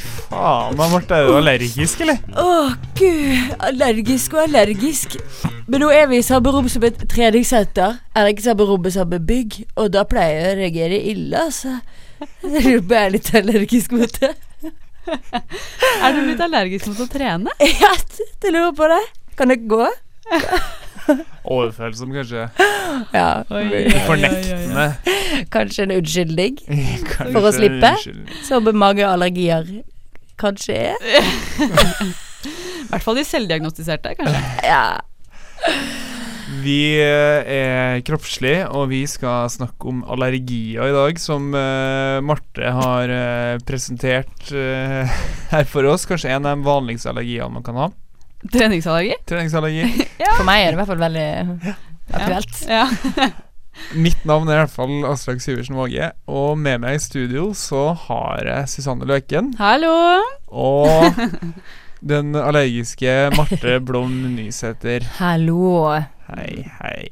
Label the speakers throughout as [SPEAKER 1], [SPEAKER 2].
[SPEAKER 1] faen da, Marte? Er du allergisk, eller?
[SPEAKER 2] Å, gud. Allergisk og allergisk. Men nå er vi i samme rom som et treningssenter. Er ikke samme rom med samme bygg, og da pleier jeg å reagere ille, altså. Jeg lurer på om jeg er litt allergisk mot det.
[SPEAKER 3] Er du blitt allergisk mot å trene?
[SPEAKER 2] Ja, jeg lurer på det. Kan jeg gå?
[SPEAKER 1] Overfølsom, kanskje?
[SPEAKER 2] Ja.
[SPEAKER 1] Fornektende.
[SPEAKER 2] Kanskje en unnskyldning.
[SPEAKER 1] Kanskje
[SPEAKER 2] For å slippe?
[SPEAKER 1] unnskyld.
[SPEAKER 2] Som mange allergier kanskje er.
[SPEAKER 3] I hvert fall de selvdiagnostiserte, kanskje.
[SPEAKER 2] Ja.
[SPEAKER 1] Vi eh, er kroppslig, og vi skal snakke om allergier i dag, som eh, Marte har eh, presentert eh, her for oss. Kanskje en av de vanligste allergiene man kan ha.
[SPEAKER 3] Treningsallergi?
[SPEAKER 1] Treningsallergi.
[SPEAKER 2] For meg er det i hvert fall veldig aktuelt.
[SPEAKER 3] Ja.
[SPEAKER 1] Mitt navn er i hvert fall Aslak Syversen Våge, og med meg i studio så har jeg Susanne Løken
[SPEAKER 3] Hallo!
[SPEAKER 1] og den allergiske Marte Blom Nysæter.
[SPEAKER 2] Hallo.
[SPEAKER 1] Hei, hei.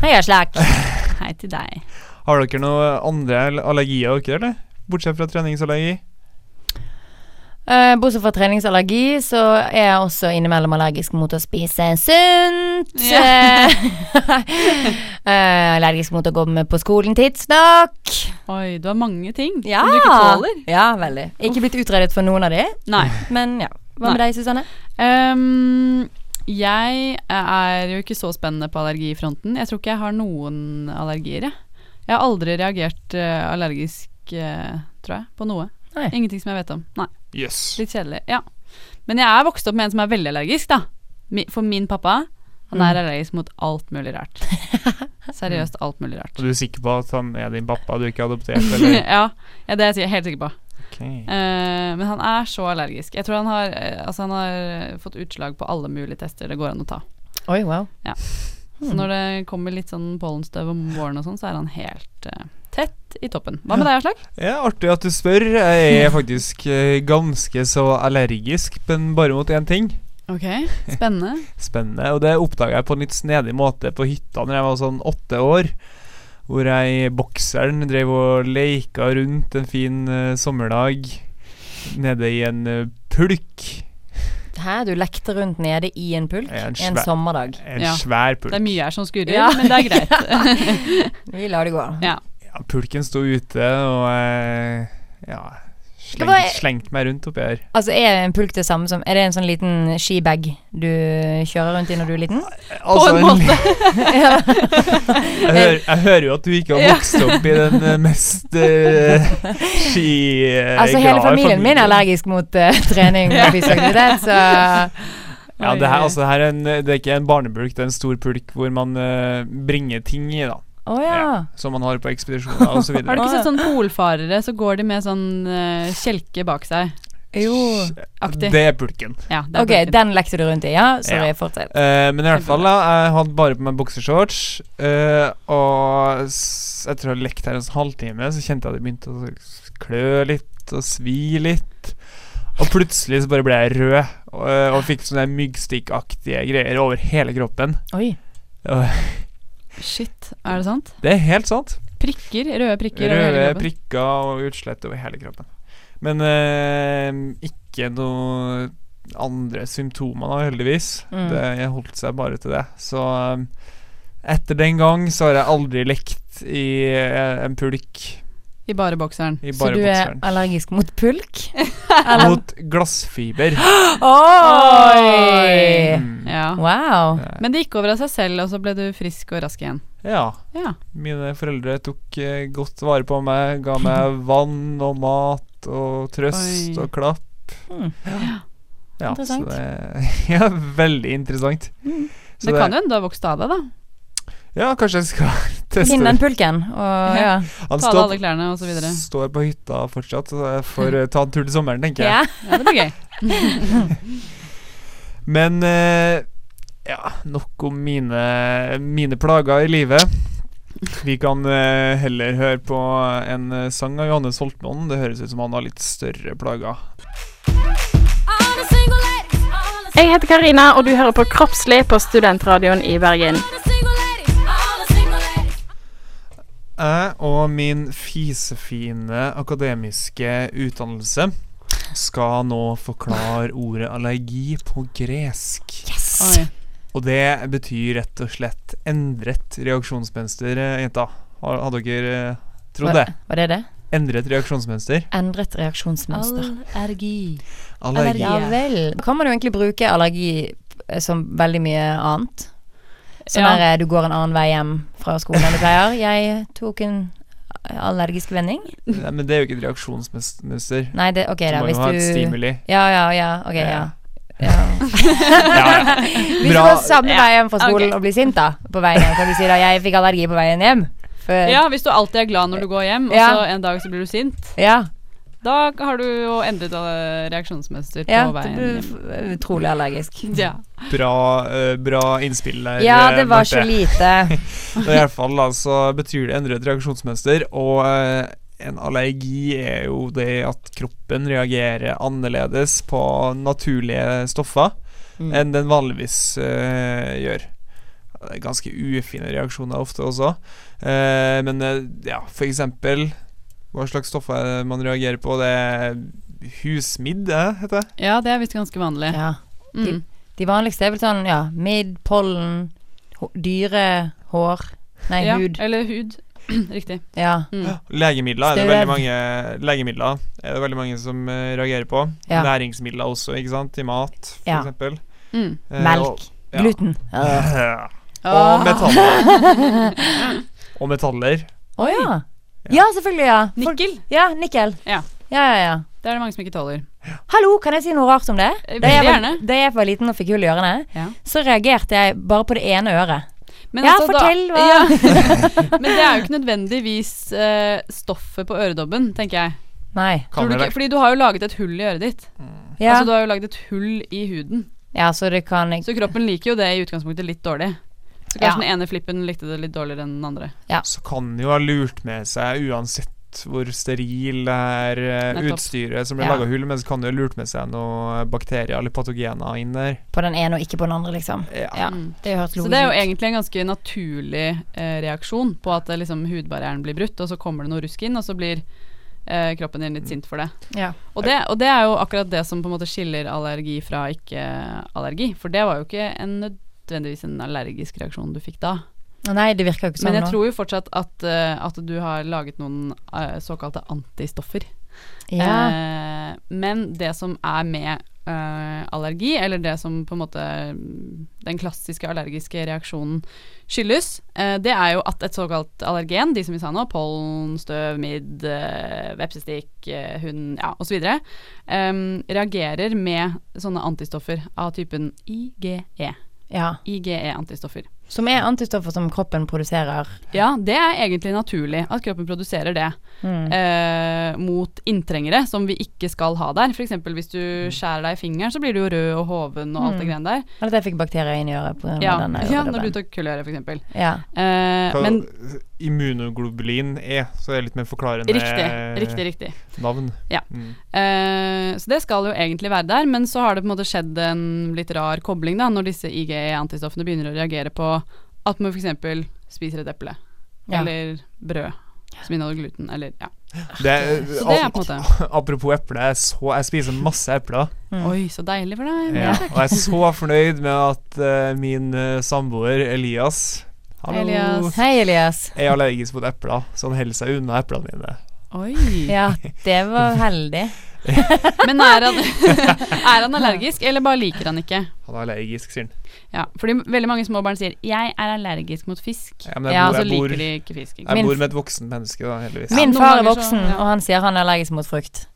[SPEAKER 2] Hei, Aslak.
[SPEAKER 3] Hei til deg.
[SPEAKER 1] Har dere noen andre allergier, dere, eller? Bortsett fra treningsallergi?
[SPEAKER 4] Eh, bortsett fra treningsallergi, så er jeg også innimellom allergisk mot å spise sunt.
[SPEAKER 3] Ja.
[SPEAKER 4] Eh, allergisk mot å gå med på skolen tidsnok.
[SPEAKER 3] Oi, du har mange ting som du ikke tåler.
[SPEAKER 4] Ja, veldig. Ikke blitt utredet for noen av de,
[SPEAKER 3] Nei.
[SPEAKER 4] men ja. Hva med
[SPEAKER 3] Nei.
[SPEAKER 4] deg, Susanne?
[SPEAKER 3] Ehm, jeg er jo ikke så spennende på allergifronten. Jeg tror ikke jeg har noen allergier, jeg. Jeg har aldri reagert eh, allergisk, eh, tror jeg, på noe.
[SPEAKER 4] Nei.
[SPEAKER 3] Ingenting som jeg vet om. Nei.
[SPEAKER 1] Jøss. Yes.
[SPEAKER 3] Litt kjedelig. Ja. Men jeg er vokst opp med en som er veldig allergisk, da. Mi- For min pappa, han er allergisk mot alt mulig rart. Seriøst alt mulig rart.
[SPEAKER 1] Og du er sikker på at han er din pappa du ikke er adoptert, eller?
[SPEAKER 3] ja, ja, det er jeg sikker- helt sikker på.
[SPEAKER 1] Ok.
[SPEAKER 3] Eh, men han er så allergisk. Jeg tror han har, eh, altså han har eh, fått utslag på alle mulige tester det går an å ta.
[SPEAKER 4] Oi, wow.
[SPEAKER 3] Så når det kommer litt sånn pollenstøv om våren og sånn, så er han helt eh, tett i toppen. Hva med deg, Aslak?
[SPEAKER 1] Ja, artig at du spør. Jeg er faktisk eh, ganske så allergisk, men bare mot én ting.
[SPEAKER 3] Ok, spennende.
[SPEAKER 1] Spennende. Og det oppdaga jeg på en litt snedig måte på hytta når jeg var sånn åtte år. Hvor jeg i bokseren drev og leika rundt en fin eh, sommerdag nede i en eh, pulk.
[SPEAKER 4] Hæ, du lekte rundt nede i en pulk
[SPEAKER 1] En
[SPEAKER 4] en,
[SPEAKER 1] svær-
[SPEAKER 4] sommerdag.
[SPEAKER 1] En
[SPEAKER 3] Ja.
[SPEAKER 1] svær
[SPEAKER 3] Det
[SPEAKER 1] pulk.
[SPEAKER 3] er mye her som skurrer,
[SPEAKER 4] Ja.
[SPEAKER 3] men det er greit.
[SPEAKER 4] Vi lar det gå.
[SPEAKER 1] Ja, pulken sto ute, og eh, ja,
[SPEAKER 4] Det var-
[SPEAKER 1] slengt, slengt meg rundt oppi her.
[SPEAKER 4] Altså, Er en pulk det samme som Er det en sånn liten skibag du kjører rundt i når du er liten?
[SPEAKER 1] Altså,
[SPEAKER 3] en
[SPEAKER 1] li-
[SPEAKER 3] måte.
[SPEAKER 1] jeg, hører, jeg hører jo at du ikke har
[SPEAKER 3] Ja.
[SPEAKER 1] vokst opp i den eh, mest uh, skiglade
[SPEAKER 4] Altså, hele familien min er allergisk mot eh, trening og fysisk aktivitet, så
[SPEAKER 1] Ja, det her, altså, det her er en, det er ikke en barnepulk, det er en stor pulk hvor man eh, bringer ting i, da.
[SPEAKER 4] Å ja.
[SPEAKER 1] Som man har på ekspedisjoner osv.
[SPEAKER 3] Har du ikke sett sånn polfarere, så går de med sånn eh, kjelke bak seg?
[SPEAKER 4] Jo.
[SPEAKER 3] aktig.
[SPEAKER 1] Det er pulken.
[SPEAKER 3] Ja, det er
[SPEAKER 4] Ok,
[SPEAKER 3] pulken.
[SPEAKER 4] den lekte du rundt i, ja? Sorry,
[SPEAKER 1] Ja.
[SPEAKER 4] fortsett.
[SPEAKER 1] Eh, men i hvert fall, da, jeg hadde bare på meg boksershorts. eh, og s jeg tror jeg lekte her en sånn halvtime, så kjente jeg at det begynte å s- klø litt og svi litt. Og plutselig så bare ble jeg rød og, eh, og fikk sånne myggstikkaktige greier over hele kroppen.
[SPEAKER 4] Oi.
[SPEAKER 1] Og
[SPEAKER 3] Shit, er det sant?
[SPEAKER 1] det er helt sant.
[SPEAKER 3] Prikker, røde prikker over hele
[SPEAKER 1] Røde
[SPEAKER 3] kroppen.
[SPEAKER 1] prikker og utslett over hele kroppen. Men eh, ikke noe andre symptomer, da, heldigvis.
[SPEAKER 4] Mm.
[SPEAKER 1] Det, jeg holdt seg bare til det. Så eh, etter den gang så har jeg aldri lekt i eh, en pulk
[SPEAKER 3] I bare bokseren.
[SPEAKER 1] i
[SPEAKER 4] Så
[SPEAKER 1] bare
[SPEAKER 4] du er
[SPEAKER 1] bokseren.
[SPEAKER 4] allergisk mot pulk?
[SPEAKER 1] Mot glassfiber.
[SPEAKER 4] Oi!
[SPEAKER 1] Mm.
[SPEAKER 3] Ja.
[SPEAKER 4] Wow.
[SPEAKER 1] Eh,
[SPEAKER 3] Men det gikk over av seg selv, og så ble du frisk og rask igjen.
[SPEAKER 1] ja.
[SPEAKER 3] Ja.
[SPEAKER 1] Mine foreldre tok eh, godt vare på meg, ga meg vann og mat og trøst
[SPEAKER 3] Oi.
[SPEAKER 1] og klapp.
[SPEAKER 4] Mm.
[SPEAKER 1] Ja, så
[SPEAKER 4] Interessant.
[SPEAKER 1] det, ja, veldig interessant. Så
[SPEAKER 3] det kan jo hende du har vokst av deg, da.
[SPEAKER 1] Ja, kanskje jeg skal teste
[SPEAKER 4] Finn den
[SPEAKER 1] det.
[SPEAKER 4] pulken, og ja.
[SPEAKER 1] Han
[SPEAKER 3] Ta av deg
[SPEAKER 1] står,
[SPEAKER 3] alle klærne, og så videre. Mm.
[SPEAKER 1] står på hytta fortsatt, så jeg får eh, ta en tur til sommeren, tenker jeg.
[SPEAKER 4] ja.
[SPEAKER 3] Ja, det blir gøy.
[SPEAKER 1] Men eh, ja, nok om mine, mine plager i livet. Vi kan eh, heller høre på en eh, sang av Johannes Holtmoen. Det høres ut som han har litt større plager.
[SPEAKER 5] Jeg heter Karina, og du hører på Kroppslig på Studentradioen i Bergen.
[SPEAKER 1] Jeg og min fisefine akademiske utdannelse skal nå forklare ordet allergi på gresk.
[SPEAKER 3] Oi.
[SPEAKER 1] Og det betyr rett og slett endret reaksjonsmønster, eh, jenta. Har, hadde dere eh, trodd det?
[SPEAKER 4] Var det det?
[SPEAKER 1] Endret reaksjonsmønster.
[SPEAKER 4] Endret reaksjonsmønster.
[SPEAKER 2] Allergi.
[SPEAKER 1] Allergi.
[SPEAKER 4] Ja vel. Kan man jo egentlig bruke allergi eh, som veldig mye annet? Sånn
[SPEAKER 3] Ja.
[SPEAKER 4] der eh, du går en annen vei hjem fra skolen enn du pleier. Jeg tok en allergisk vending.
[SPEAKER 1] Nei, men det er jo ikke et reaksjonsmønster.
[SPEAKER 4] Nei, det, ok
[SPEAKER 1] Du
[SPEAKER 4] da,
[SPEAKER 1] må jo
[SPEAKER 4] hvis
[SPEAKER 1] ha et
[SPEAKER 4] du
[SPEAKER 1] stimuli.
[SPEAKER 4] Ja, ja, ja. Ok, ja. ja.
[SPEAKER 1] Ja, ja.
[SPEAKER 4] Hvis du
[SPEAKER 1] Bra.
[SPEAKER 4] går samme vei hjem fra skolen og blir sint da, på veien hjem, kan du si da 'jeg fikk allergi på veien hjem'? For,
[SPEAKER 3] Ja, hvis du alltid er glad når du går hjem, og
[SPEAKER 4] Ja.
[SPEAKER 3] så en dag så blir du sint,
[SPEAKER 4] ja.
[SPEAKER 3] da har du jo endret eh, reaksjonsmønster på
[SPEAKER 4] Ja, det
[SPEAKER 3] veien
[SPEAKER 4] ble
[SPEAKER 3] hjem.
[SPEAKER 4] f- utrolig allergisk.
[SPEAKER 3] Ja.
[SPEAKER 1] Bra, eh, bra innspill der.
[SPEAKER 4] Ja,
[SPEAKER 1] eh,
[SPEAKER 4] det var så
[SPEAKER 1] Marte.
[SPEAKER 4] lite.
[SPEAKER 1] Og I hvert fall da, så betyr det endret reaksjonsmønster, og eh, en allergi er jo det at kroppen reagerer annerledes på naturlige stoffer enn den vanligvis eh, gjør. Det er Ganske ufine reaksjoner ofte også. Eh, men eh, ja, for eksempel Hva slags stoffer er det man reagerer på? Det er husmidd, eh, heter det?
[SPEAKER 3] ja, det er visst ganske vanlig.
[SPEAKER 4] Ja.
[SPEAKER 3] Mm.
[SPEAKER 4] De vanligste er vel sånn ja, midd, pollen, hå- dyre hår Nei,
[SPEAKER 3] Ja,
[SPEAKER 4] hud.
[SPEAKER 3] eller hud. Riktig.
[SPEAKER 4] Ja.
[SPEAKER 3] Mm.
[SPEAKER 1] Legemidler er det
[SPEAKER 4] Steroid.
[SPEAKER 1] veldig mange Legemidler er det veldig mange som eh, reagerer på.
[SPEAKER 4] Ja.
[SPEAKER 1] Næringsmidler også, ikke sant? Til mat, for
[SPEAKER 4] Ja.
[SPEAKER 1] eksempel.
[SPEAKER 3] Mm.
[SPEAKER 1] Eh,
[SPEAKER 4] Melk.
[SPEAKER 1] ja.
[SPEAKER 4] Gluten. Å
[SPEAKER 1] Og, og
[SPEAKER 3] ah,
[SPEAKER 1] metaller. og metaller.
[SPEAKER 4] ja. Ja, selvfølgelig, ja. Folk-
[SPEAKER 3] Nikkel.
[SPEAKER 4] Ja, nikkel.
[SPEAKER 3] Ja.
[SPEAKER 4] ja, ja, ja.
[SPEAKER 3] Det er det mange som ikke tåler.
[SPEAKER 4] Hallo, kan jeg si noe rart om det?
[SPEAKER 3] Eh,
[SPEAKER 4] Da jeg,
[SPEAKER 3] veldig
[SPEAKER 4] var,
[SPEAKER 3] gjerne.
[SPEAKER 4] da jeg var liten og fikk hull i ørene,
[SPEAKER 3] Ja.
[SPEAKER 4] så reagerte jeg bare på det ene øret.
[SPEAKER 3] Men altså,
[SPEAKER 4] Ja,
[SPEAKER 3] da-
[SPEAKER 4] fortell hva-
[SPEAKER 3] Ja. Men det er jo ikke nødvendigvis eh, stoffet på øredobben, tenker jeg.
[SPEAKER 4] Nei.
[SPEAKER 3] Tror
[SPEAKER 1] Kan Mm.
[SPEAKER 3] du
[SPEAKER 1] dere
[SPEAKER 3] ikke? Fordi du har jo laget et hull i øret ditt.
[SPEAKER 4] Ja,
[SPEAKER 3] Altså, du har jo laget et hull i huden.
[SPEAKER 4] ja så det kan jeg
[SPEAKER 3] Så kroppen liker jo det i utgangspunktet litt dårlig. Så
[SPEAKER 4] Ja.
[SPEAKER 3] kanskje den ene flippen likte det litt dårligere enn den andre.
[SPEAKER 1] Så kan den jo ha lurt med seg, uansett hvor steril det er eh,
[SPEAKER 3] Nettopp.
[SPEAKER 1] utstyret som blir
[SPEAKER 4] Ja.
[SPEAKER 1] laget laga hull, men så kan det jo ha lurt med seg noen bakterier eller patogener inn der.
[SPEAKER 4] På den ene og ikke på den andre, liksom. Ja.
[SPEAKER 3] Mm.
[SPEAKER 4] Det høres
[SPEAKER 3] Så
[SPEAKER 4] logisk
[SPEAKER 3] det er jo
[SPEAKER 4] ut.
[SPEAKER 3] egentlig en ganske naturlig eh, reaksjon på at eh, liksom, hudbarrieren blir brutt, og så kommer det noe rusk inn, og så blir eh, kroppen din litt sint for det.
[SPEAKER 4] Ja.
[SPEAKER 3] Og det. Og det er jo akkurat det som på en måte skiller allergi fra ikke-allergi, for det var jo ikke en nødvendigvis en allergisk reaksjon du fikk da.
[SPEAKER 4] Nei, det virker jo ikke sånn
[SPEAKER 3] Men jeg
[SPEAKER 4] nå.
[SPEAKER 3] tror jo fortsatt at, eh, at du har laget noen eh, såkalte antistoffer.
[SPEAKER 4] ja.
[SPEAKER 3] Eh, men det som er med eh, allergi, eller det som på en måte mm, den klassiske allergiske reaksjonen skyldes, eh, det er jo at et såkalt allergen, de som vi sa nå, pollen, støv, midd, eh, vepsestikk, eh, hund, ja, osv., um, reagerer med sånne antistoffer av typen E. IGE.
[SPEAKER 4] ja.
[SPEAKER 3] IGE-antistoffer.
[SPEAKER 4] Som er antistoffer som kroppen produserer.
[SPEAKER 3] Ja, det er egentlig naturlig at kroppen produserer det
[SPEAKER 4] Mm.
[SPEAKER 3] eh, mot inntrengere som vi ikke skal ha der. F.eks. hvis du
[SPEAKER 4] Mm.
[SPEAKER 3] skjærer deg i fingeren, så blir du jo rød og hoven og alt det greiene der.
[SPEAKER 4] Eller at jeg fikk bakterier inn i øret pga.
[SPEAKER 3] Ja,
[SPEAKER 4] Mm. den
[SPEAKER 3] ja når du tok kulløre, f.eks.
[SPEAKER 4] ja.
[SPEAKER 3] Eh,
[SPEAKER 1] Hva
[SPEAKER 3] men
[SPEAKER 1] immunoglobulin er, så det er litt mer forklarende
[SPEAKER 3] riktig,
[SPEAKER 1] eh,
[SPEAKER 3] riktig, riktig.
[SPEAKER 1] navn.
[SPEAKER 3] Ja.
[SPEAKER 1] Mm.
[SPEAKER 3] Eh, så det skal jo egentlig være der, men så har det på en måte skjedd en litt rar kobling da, når disse IGE-antistoffene begynner å reagere på at man f.eks. spiser et eple
[SPEAKER 4] Ja.
[SPEAKER 3] eller brød som inneholder gluten, eller ja.
[SPEAKER 1] Det, er-
[SPEAKER 3] Så det er på en måte
[SPEAKER 1] Apropos eple, jeg så jeg spiser masse epler.
[SPEAKER 4] Mm.
[SPEAKER 3] Oi, så deilig for deg.
[SPEAKER 1] Ja, og jeg er så fornøyd med at eh, min eh, samboer Elias Hallo.
[SPEAKER 3] Elias.
[SPEAKER 4] Hei, Elias.
[SPEAKER 1] Er allergisk mot epler, så han holder seg unna eplene mine.
[SPEAKER 3] Oi.
[SPEAKER 4] Ja, det var heldig.
[SPEAKER 3] Men er han, er han allergisk, eller bare liker han ikke?
[SPEAKER 1] Han er allergisk, sier han.
[SPEAKER 3] Ja, fordi veldig mange små barn sier 'jeg er allergisk mot fisk',
[SPEAKER 1] Ja, men jeg,
[SPEAKER 4] Ja,
[SPEAKER 3] og
[SPEAKER 1] bor,
[SPEAKER 3] så
[SPEAKER 1] jeg, bor,
[SPEAKER 3] liker de ikke fisk. Ikke?
[SPEAKER 1] jeg
[SPEAKER 4] Min-
[SPEAKER 1] bor med et voksen menneske, da, heldigvis.
[SPEAKER 4] Min
[SPEAKER 3] noen
[SPEAKER 4] far er
[SPEAKER 3] ganger så-
[SPEAKER 4] voksen,
[SPEAKER 3] ja.
[SPEAKER 4] og han sier han er allergisk mot frukt.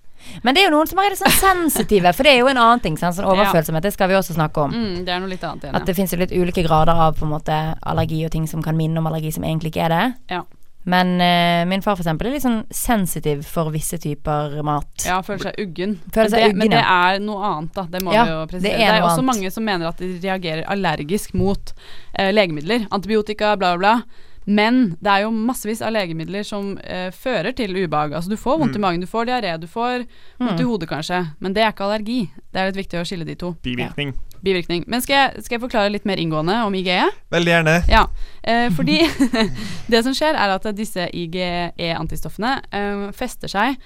[SPEAKER 4] Men det er jo noen som er litt sånn sensitive, for det er jo en annen ting. Sånn, sånn overfølsomhet, det skal vi også snakke om.
[SPEAKER 3] Mm, det er noe litt annet igjen.
[SPEAKER 4] At
[SPEAKER 3] Ja.
[SPEAKER 4] det fins jo litt ulike grader av på en måte allergi og ting som kan minne om allergi, som egentlig ikke er det.
[SPEAKER 3] Ja.
[SPEAKER 4] Men eh, min far for eksempel er litt sånn sensitiv for visse typer mat.
[SPEAKER 3] Ja, føler seg uggen.
[SPEAKER 4] Føler seg
[SPEAKER 3] Men det,
[SPEAKER 4] uggen,
[SPEAKER 3] men det
[SPEAKER 4] ja.
[SPEAKER 3] er noe annet, da. Det må
[SPEAKER 4] Ja,
[SPEAKER 3] vi jo presisere.
[SPEAKER 4] det
[SPEAKER 3] Det
[SPEAKER 4] er
[SPEAKER 3] er,
[SPEAKER 4] noe
[SPEAKER 3] også
[SPEAKER 4] annet.
[SPEAKER 3] mange som mener at de reagerer allergisk mot eh, legemidler. Antibiotika, bla, bla, bla. Men det er jo massevis av legemidler som eh, fører til ubehag. Altså du får
[SPEAKER 1] Mm.
[SPEAKER 3] vondt i magen, du får diaré, du får
[SPEAKER 4] Mm.
[SPEAKER 3] vondt i hodet kanskje. Men det er ikke allergi. Det er litt viktig å skille de to.
[SPEAKER 1] Bivirkning.
[SPEAKER 3] Bivirkning. Men skal jeg, skal jeg forklare litt mer inngående om IGE?
[SPEAKER 1] Veldig gjerne.
[SPEAKER 3] Ja, eh, fordi det som skjer er at disse IGE-antistoffene eh, fester seg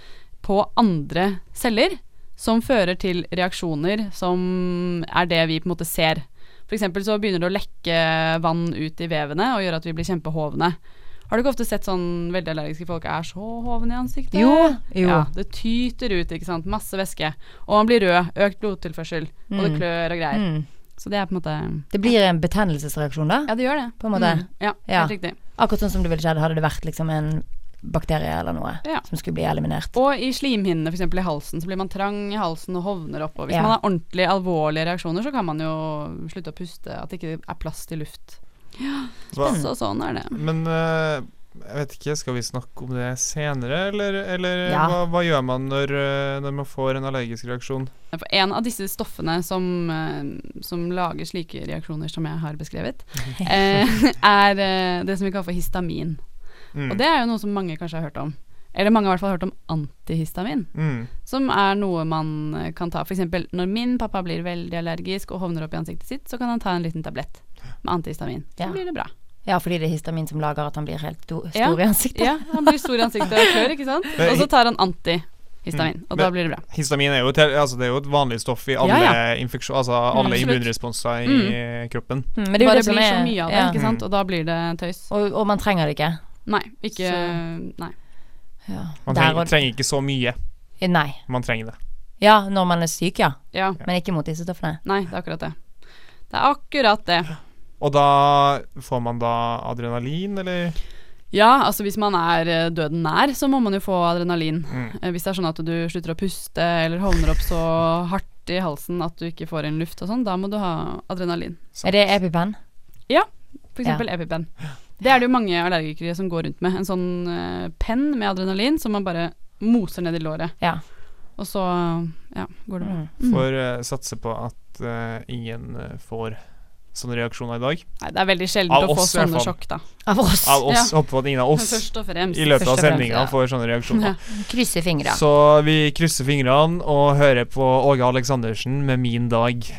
[SPEAKER 3] på andre celler som fører til reaksjoner som er det vi på en måte ser. F.eks. så begynner det å lekke vann ut i vevene og gjøre at vi blir kjempehovne. Har du ikke ofte sett sånn veldig allergiske folk er så hovne i ansiktet?
[SPEAKER 4] Jo, jo.
[SPEAKER 3] Ja, det tyter ut, ikke sant. Masse væske. Og man blir rød. Økt blodtilførsel. Og det
[SPEAKER 4] Mm.
[SPEAKER 3] klør og greier.
[SPEAKER 4] Mm.
[SPEAKER 3] Så det er på en måte
[SPEAKER 4] Det blir en betennelsesreaksjon, da?
[SPEAKER 3] Ja, det gjør det.
[SPEAKER 4] På en måte.
[SPEAKER 3] Mm. Ja,
[SPEAKER 4] Ja.
[SPEAKER 3] helt riktig.
[SPEAKER 4] Akkurat sånn som det ville skjedd hadde det vært liksom en bakterie eller noe
[SPEAKER 3] Ja.
[SPEAKER 4] som skulle bli eliminert.
[SPEAKER 3] Og i slimhinnene, f.eks. i halsen, så blir man trang i halsen og hovner opp. Og hvis
[SPEAKER 4] Ja.
[SPEAKER 3] man har ordentlig alvorlige reaksjoner, så kan man jo slutte å puste. At det ikke er plass til luft.
[SPEAKER 1] Hva?
[SPEAKER 3] Så sånn er det.
[SPEAKER 1] Men eh, jeg vet ikke, skal vi snakke om det senere, eller, eller
[SPEAKER 4] Ja.
[SPEAKER 1] hva, hva gjør man når, eh, når man får en allergisk reaksjon?
[SPEAKER 3] For en av disse stoffene som, eh, som lager slike reaksjoner som jeg har beskrevet, eh, er eh, det som vi kaller for histamin.
[SPEAKER 1] Mm.
[SPEAKER 3] Og det er jo noe som mange kanskje har hørt om. Eller mange har i hvert fall hørt om antihistamin,
[SPEAKER 1] Mm.
[SPEAKER 3] som er noe man eh, kan ta. F.eks. når min pappa blir veldig allergisk og hovner opp i ansiktet sitt, så kan han ta en liten tablett med antihistamin. Så
[SPEAKER 4] Ja.
[SPEAKER 3] blir det bra.
[SPEAKER 4] Ja, fordi det er histamin som lager at han blir helt do- stor
[SPEAKER 3] Ja.
[SPEAKER 4] i ansiktet.
[SPEAKER 3] Ja, han blir stor i ansiktet og klør, ikke sant?
[SPEAKER 1] Men- Mm.
[SPEAKER 3] Og så tar han antihistamin, og da
[SPEAKER 1] Men-
[SPEAKER 3] blir det bra.
[SPEAKER 1] Histamin er jo, et, altså det er jo et vanlig stoff i alle,
[SPEAKER 3] Ja, Mm,
[SPEAKER 1] infeksjon- altså alle
[SPEAKER 3] absolutt.
[SPEAKER 1] immunresponser i kroppen.
[SPEAKER 4] Mm, men det er
[SPEAKER 3] Det
[SPEAKER 4] jo
[SPEAKER 3] bare
[SPEAKER 4] det som
[SPEAKER 3] blir
[SPEAKER 4] er
[SPEAKER 3] så mye av det,
[SPEAKER 4] ja.
[SPEAKER 3] ikke
[SPEAKER 1] Mm.
[SPEAKER 3] sant? Og da blir det tøys.
[SPEAKER 4] Og, og man trenger det ikke.
[SPEAKER 3] Nei, ikke Nei.
[SPEAKER 4] Ja.
[SPEAKER 1] Man
[SPEAKER 4] Der
[SPEAKER 1] trenger,
[SPEAKER 4] og-
[SPEAKER 1] trenger ikke så mye.
[SPEAKER 4] Nei.
[SPEAKER 1] Man trenger det.
[SPEAKER 4] Ja, når man er syk, ja.
[SPEAKER 3] Ja,
[SPEAKER 4] Men ikke mot disse stoffene.
[SPEAKER 3] nei, det er akkurat det. Det er akkurat det.
[SPEAKER 1] Og da får man da adrenalin, eller?
[SPEAKER 3] Ja, altså hvis man er eh, døden nær, så må man jo få adrenalin.
[SPEAKER 1] Mm.
[SPEAKER 3] Eh, Hvis det er sånn at du slutter å puste eller hovner opp så hardt i halsen at du ikke får inn luft og sånn, da må du ha adrenalin.
[SPEAKER 4] Er det EpiPen?
[SPEAKER 3] For eksempel EpiPen. Det er det jo mange allergikere som går rundt med. En sånn eh, penn med adrenalin som man bare moser ned i låret.
[SPEAKER 4] Ja.
[SPEAKER 3] Og så ja, går det bra.
[SPEAKER 4] Mm.
[SPEAKER 1] For eh, satse på at eh, ingen eh, får sånne reaksjoner i dag.
[SPEAKER 3] Nei, det er veldig
[SPEAKER 1] Av
[SPEAKER 3] sjeldent å
[SPEAKER 1] oss, i
[SPEAKER 3] få
[SPEAKER 1] hvert
[SPEAKER 3] sånne
[SPEAKER 1] fall.
[SPEAKER 3] sjokk, da.
[SPEAKER 4] Av oss.
[SPEAKER 1] Av oss, håper at ingen av oss
[SPEAKER 3] Først og fremst.
[SPEAKER 1] i løpet av
[SPEAKER 3] Først og fremst,
[SPEAKER 1] sendinga
[SPEAKER 3] ja.
[SPEAKER 1] får sånne reaksjoner.
[SPEAKER 3] Ja.
[SPEAKER 4] Krysser fingre.
[SPEAKER 1] Så vi krysser fingrene og hører på Åge Aleksandersen med 'Min dag'.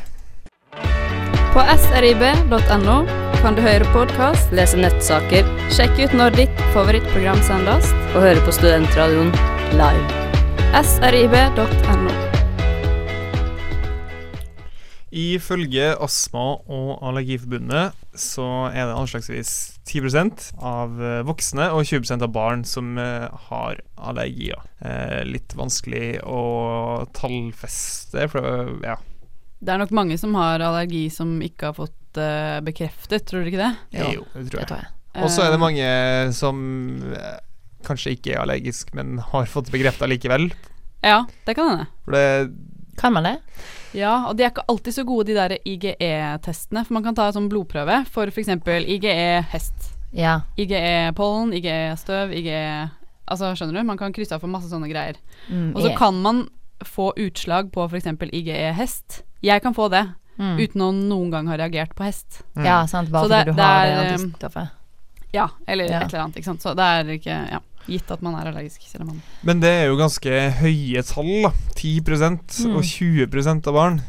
[SPEAKER 6] På srib.no kan du høre podkast, lese nettsaker, sjekke ut når ditt favorittprogram sendes, og høre på Studentradioen live. srib.no.
[SPEAKER 1] Ifølge Astma- og Allergiforbundet så er det anslagsvis 10 av eh, voksne og 20 av barn som eh, har allergier. Eh, litt vanskelig å tallfeste, for det- ja.
[SPEAKER 3] Det er nok mange som har allergi som ikke har fått eh, bekreftet, tror dere ikke det?
[SPEAKER 1] det er jo, det tror
[SPEAKER 4] Det
[SPEAKER 1] jeg.
[SPEAKER 4] tror jeg.
[SPEAKER 1] Og så er det
[SPEAKER 3] Eh,
[SPEAKER 1] mange som eh, kanskje ikke er allergisk, men har fått bekrefta likevel.
[SPEAKER 3] Ja, det kan hende.
[SPEAKER 1] For det
[SPEAKER 4] Kan man det?
[SPEAKER 3] Ja, og de er ikke alltid så gode, de der IGE-testene. For man kan ta en sånn blodprøve for f.eks. IGE hest,
[SPEAKER 4] Ja.
[SPEAKER 3] IGE pollen, IGE støv, IGE Altså, skjønner du? Man kan krysse av for masse sånne greier.
[SPEAKER 4] Mm,
[SPEAKER 3] Og så
[SPEAKER 4] i-
[SPEAKER 3] kan man få utslag på f.eks. IGE hest. Jeg kan få det
[SPEAKER 4] mm.
[SPEAKER 3] uten å noen gang ha reagert på hest.
[SPEAKER 1] mm.
[SPEAKER 4] Ja, sant. Bare
[SPEAKER 3] Så det-
[SPEAKER 4] fordi du
[SPEAKER 3] det
[SPEAKER 4] har
[SPEAKER 3] er,
[SPEAKER 4] det
[SPEAKER 3] um,
[SPEAKER 4] antistoffet.
[SPEAKER 3] Ja, eller
[SPEAKER 4] Ja.
[SPEAKER 3] et eller annet, ikke sant. Så det er ikke ja, gitt at man er allergisk, selv om man
[SPEAKER 1] Men det er jo ganske høye tall, da. 10 og 20 av barn.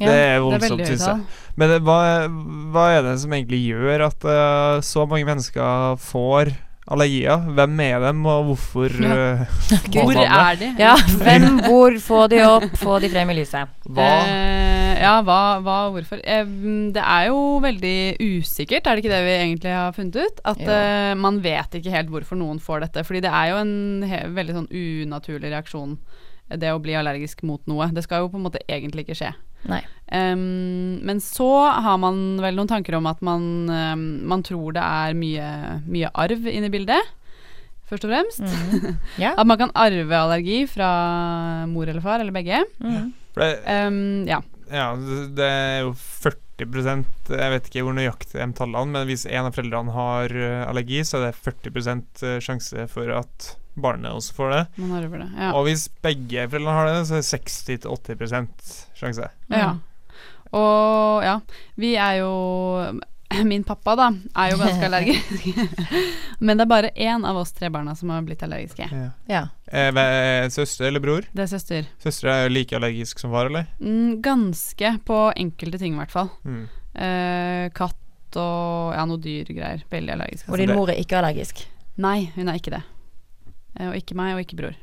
[SPEAKER 4] Ja,
[SPEAKER 1] det er
[SPEAKER 3] Det er
[SPEAKER 1] voldsomt,
[SPEAKER 3] veldig høyt
[SPEAKER 1] syns jeg.
[SPEAKER 3] tall.
[SPEAKER 1] Men det- hva, hva er det som egentlig gjør at eh, så mange mennesker får allergier? Hvem er dem, og hvorfor eh,
[SPEAKER 4] Gud.
[SPEAKER 1] får
[SPEAKER 3] Hvor
[SPEAKER 1] man det?
[SPEAKER 3] er de?
[SPEAKER 4] Ja, hvem, hvor, få de opp, få de frem i lyset.
[SPEAKER 1] Hva?
[SPEAKER 3] Eh, ja, hva, hva hvorfor? Eh, det er jo veldig usikkert, er det ikke det vi egentlig har funnet ut? At
[SPEAKER 4] Jo.
[SPEAKER 3] eh, man vet ikke helt hvorfor noen får dette. Fordi det er jo en he veldig sånn unaturlig reaksjon, eh, det å bli allergisk mot noe. Det skal jo på en måte egentlig ikke skje.
[SPEAKER 4] Nei.
[SPEAKER 3] Ehm, men så har man vel noen tanker om at man, ehm, man tror det er mye, mye arv inne i bildet, først og fremst.
[SPEAKER 4] Ja.
[SPEAKER 3] At man kan arve allergi fra mor eller far, eller begge.
[SPEAKER 4] Mm.
[SPEAKER 1] For det,
[SPEAKER 3] Ehm, ja.
[SPEAKER 1] ja, det det er jo 40 Jeg vet ikke hvor nøyaktig de tallene men hvis en av foreldrene har eh, allergi, så er det 40 sjanse for at barnet også får det.
[SPEAKER 3] Man arver det. Ja.
[SPEAKER 1] Og hvis begge foreldrene har det, så er det 60-80 sjanse.
[SPEAKER 3] Ja. Og ja, vi er jo Min pappa, da, er jo ganske allergisk. Men det er bare én av oss tre barna som har blitt allergiske.
[SPEAKER 4] Ja.
[SPEAKER 1] Eh, hva- Søster eller bror?
[SPEAKER 3] Det er søster.
[SPEAKER 1] Søster er jo like allergisk som far, eller?
[SPEAKER 3] Mm, Ganske på enkelte ting, i hvert fall.
[SPEAKER 1] Mm.
[SPEAKER 3] Eh, katt og ja, noe dyrgreier. Veldig allergisk.
[SPEAKER 4] Og din mor er ikke allergisk.
[SPEAKER 3] Nei, hun er ikke det. Eh, og ikke meg, og ikke bror.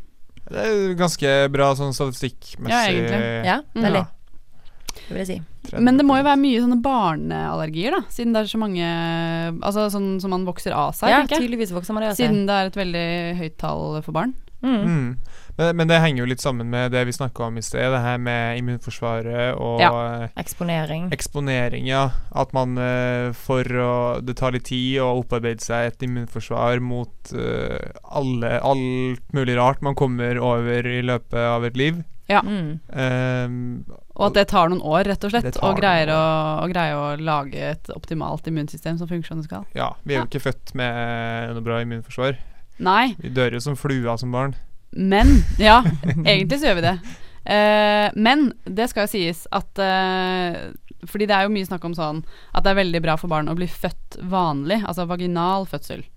[SPEAKER 1] Det er jo ganske bra sånn statistikkmessig.
[SPEAKER 3] Ja, egentlig.
[SPEAKER 4] Ja, veldig.
[SPEAKER 1] Ja,
[SPEAKER 4] Det vil jeg si.
[SPEAKER 1] 30.
[SPEAKER 3] Men det må jo være mye sånne barneallergier, da. Siden det er så mange Altså sånn som man vokser av seg,
[SPEAKER 4] Ja,
[SPEAKER 3] tenker jeg.
[SPEAKER 4] tydeligvis vokser man det av seg.
[SPEAKER 3] Siden det er et veldig høyt tall for barn.
[SPEAKER 4] Mm.
[SPEAKER 1] Mm. Men, men det henger jo litt sammen med det vi snakka om i sted, det her med immunforsvaret og eh,
[SPEAKER 4] Eksponering.
[SPEAKER 1] eksponering, ja. At man eh, for å Det tar litt tid å opparbeide seg et immunforsvar mot eh, alle, alt mulig rart man kommer over i løpet av et liv.
[SPEAKER 4] Mm.
[SPEAKER 1] Ehm,
[SPEAKER 3] Og at det tar noen år, rett og
[SPEAKER 1] Det
[SPEAKER 3] slett,
[SPEAKER 1] tar
[SPEAKER 3] å greie
[SPEAKER 1] noen
[SPEAKER 3] å, å greie å lage et optimalt immunsystem som funker som det skal.
[SPEAKER 1] ja, vi er
[SPEAKER 3] Ja.
[SPEAKER 1] jo ikke født med noe bra immunforsvar.
[SPEAKER 3] Nei,
[SPEAKER 1] Vi dør jo som flua som barn.
[SPEAKER 3] men Ja, egentlig så gjør vi det. Eh, men det skal jo sies at eh, Fordi det er jo mye snakk om sånn at det er veldig bra for barn å bli født vanlig, altså vaginal fødsel.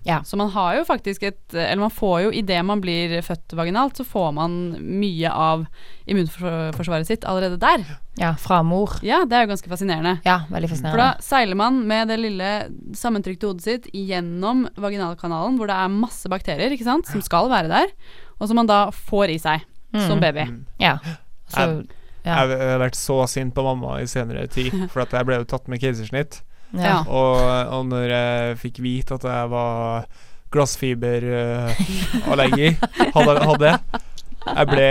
[SPEAKER 4] Ja.
[SPEAKER 3] Så man har jo faktisk et Eller man får jo idet man blir født vaginalt, så får man mye av immunforsvaret sitt allerede der.
[SPEAKER 4] Ja, fra mor.
[SPEAKER 3] Ja, det er jo ganske fascinerende.
[SPEAKER 4] Ja, veldig
[SPEAKER 3] For da
[SPEAKER 4] fascinerende.
[SPEAKER 3] seiler man med det lille sammentrykte hodet sitt gjennom vaginalkanalen, hvor det er masse bakterier ikke sant, som skal være der, og som man da får i seg
[SPEAKER 4] Mm.
[SPEAKER 3] som baby.
[SPEAKER 1] Mm.
[SPEAKER 4] Ja. Så, Ja.
[SPEAKER 1] Jeg har vært så sint på mamma i senere tid, for at jeg ble jo tatt med keisersnitt.
[SPEAKER 4] ja.
[SPEAKER 3] Ja.
[SPEAKER 1] Og, og når jeg fikk vite at jeg var glassfiberallergi, hadde, hadde jeg Jeg ble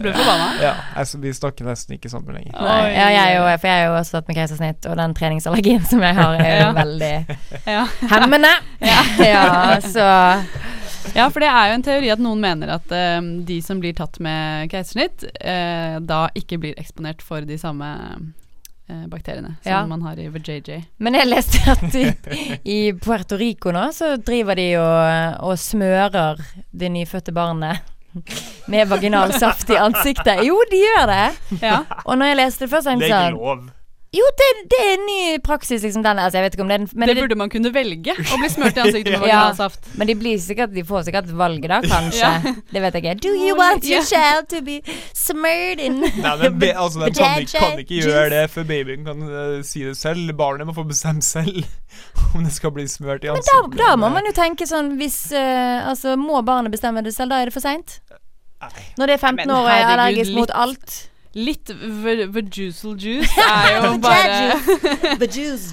[SPEAKER 3] Ble du forbanna?
[SPEAKER 1] Ja, altså, vi snakker nesten ikke sammen lenger.
[SPEAKER 4] Nei, ja, jeg, er jo, for jeg er jo også tatt med keisersnitt, og den treningsallergien som jeg har, er jo
[SPEAKER 3] Ja.
[SPEAKER 4] veldig
[SPEAKER 3] Ja.
[SPEAKER 4] hemmende. Ja. så
[SPEAKER 3] Ja, for det er jo en teori at noen mener at eh, de som blir tatt med keisersnitt, eh, da ikke blir eksponert for de samme eh, bakteriene som
[SPEAKER 4] Ja.
[SPEAKER 3] man har i VJJ.
[SPEAKER 4] Men jeg leste at i, i Puerto Rico nå, så driver de og, og smører det nyfødte barnet med vaginal saft i ansiktet. Jo, de gjør det.
[SPEAKER 3] Ja.
[SPEAKER 4] Og når jeg leste det først, så tenkte jeg sånn
[SPEAKER 1] lov.
[SPEAKER 4] Jo, det, det er en ny praksis, liksom. Den, altså, jeg vet ikke om det er den men
[SPEAKER 3] Det burde man kunne velge, å bli smurt i ansiktet med
[SPEAKER 4] Ja.
[SPEAKER 3] vaginalsaft.
[SPEAKER 4] Men de, blir sikkert, de får sikkert valget da, kanskje.
[SPEAKER 3] Ja.
[SPEAKER 4] Det vet jeg ikke. Do you want your child to be smurred in
[SPEAKER 1] Nei, men be, altså, de kan, ikke- kan ikke gjøre
[SPEAKER 4] Juice.
[SPEAKER 1] det, for babyen kan eh, si det selv. Barnet må få bestemme selv om det skal bli smørt i
[SPEAKER 4] Men da,
[SPEAKER 1] ansiktet.
[SPEAKER 4] da må man jo tenke sånn hvis eh, Altså, må barnet bestemme det selv? Da er det for seint?
[SPEAKER 1] Nei.
[SPEAKER 4] Når det er 15
[SPEAKER 3] Men
[SPEAKER 4] år og er
[SPEAKER 3] herregud,
[SPEAKER 4] allergisk
[SPEAKER 3] litt.
[SPEAKER 4] mot alt?
[SPEAKER 3] Litt v- vajusal juice er jo bare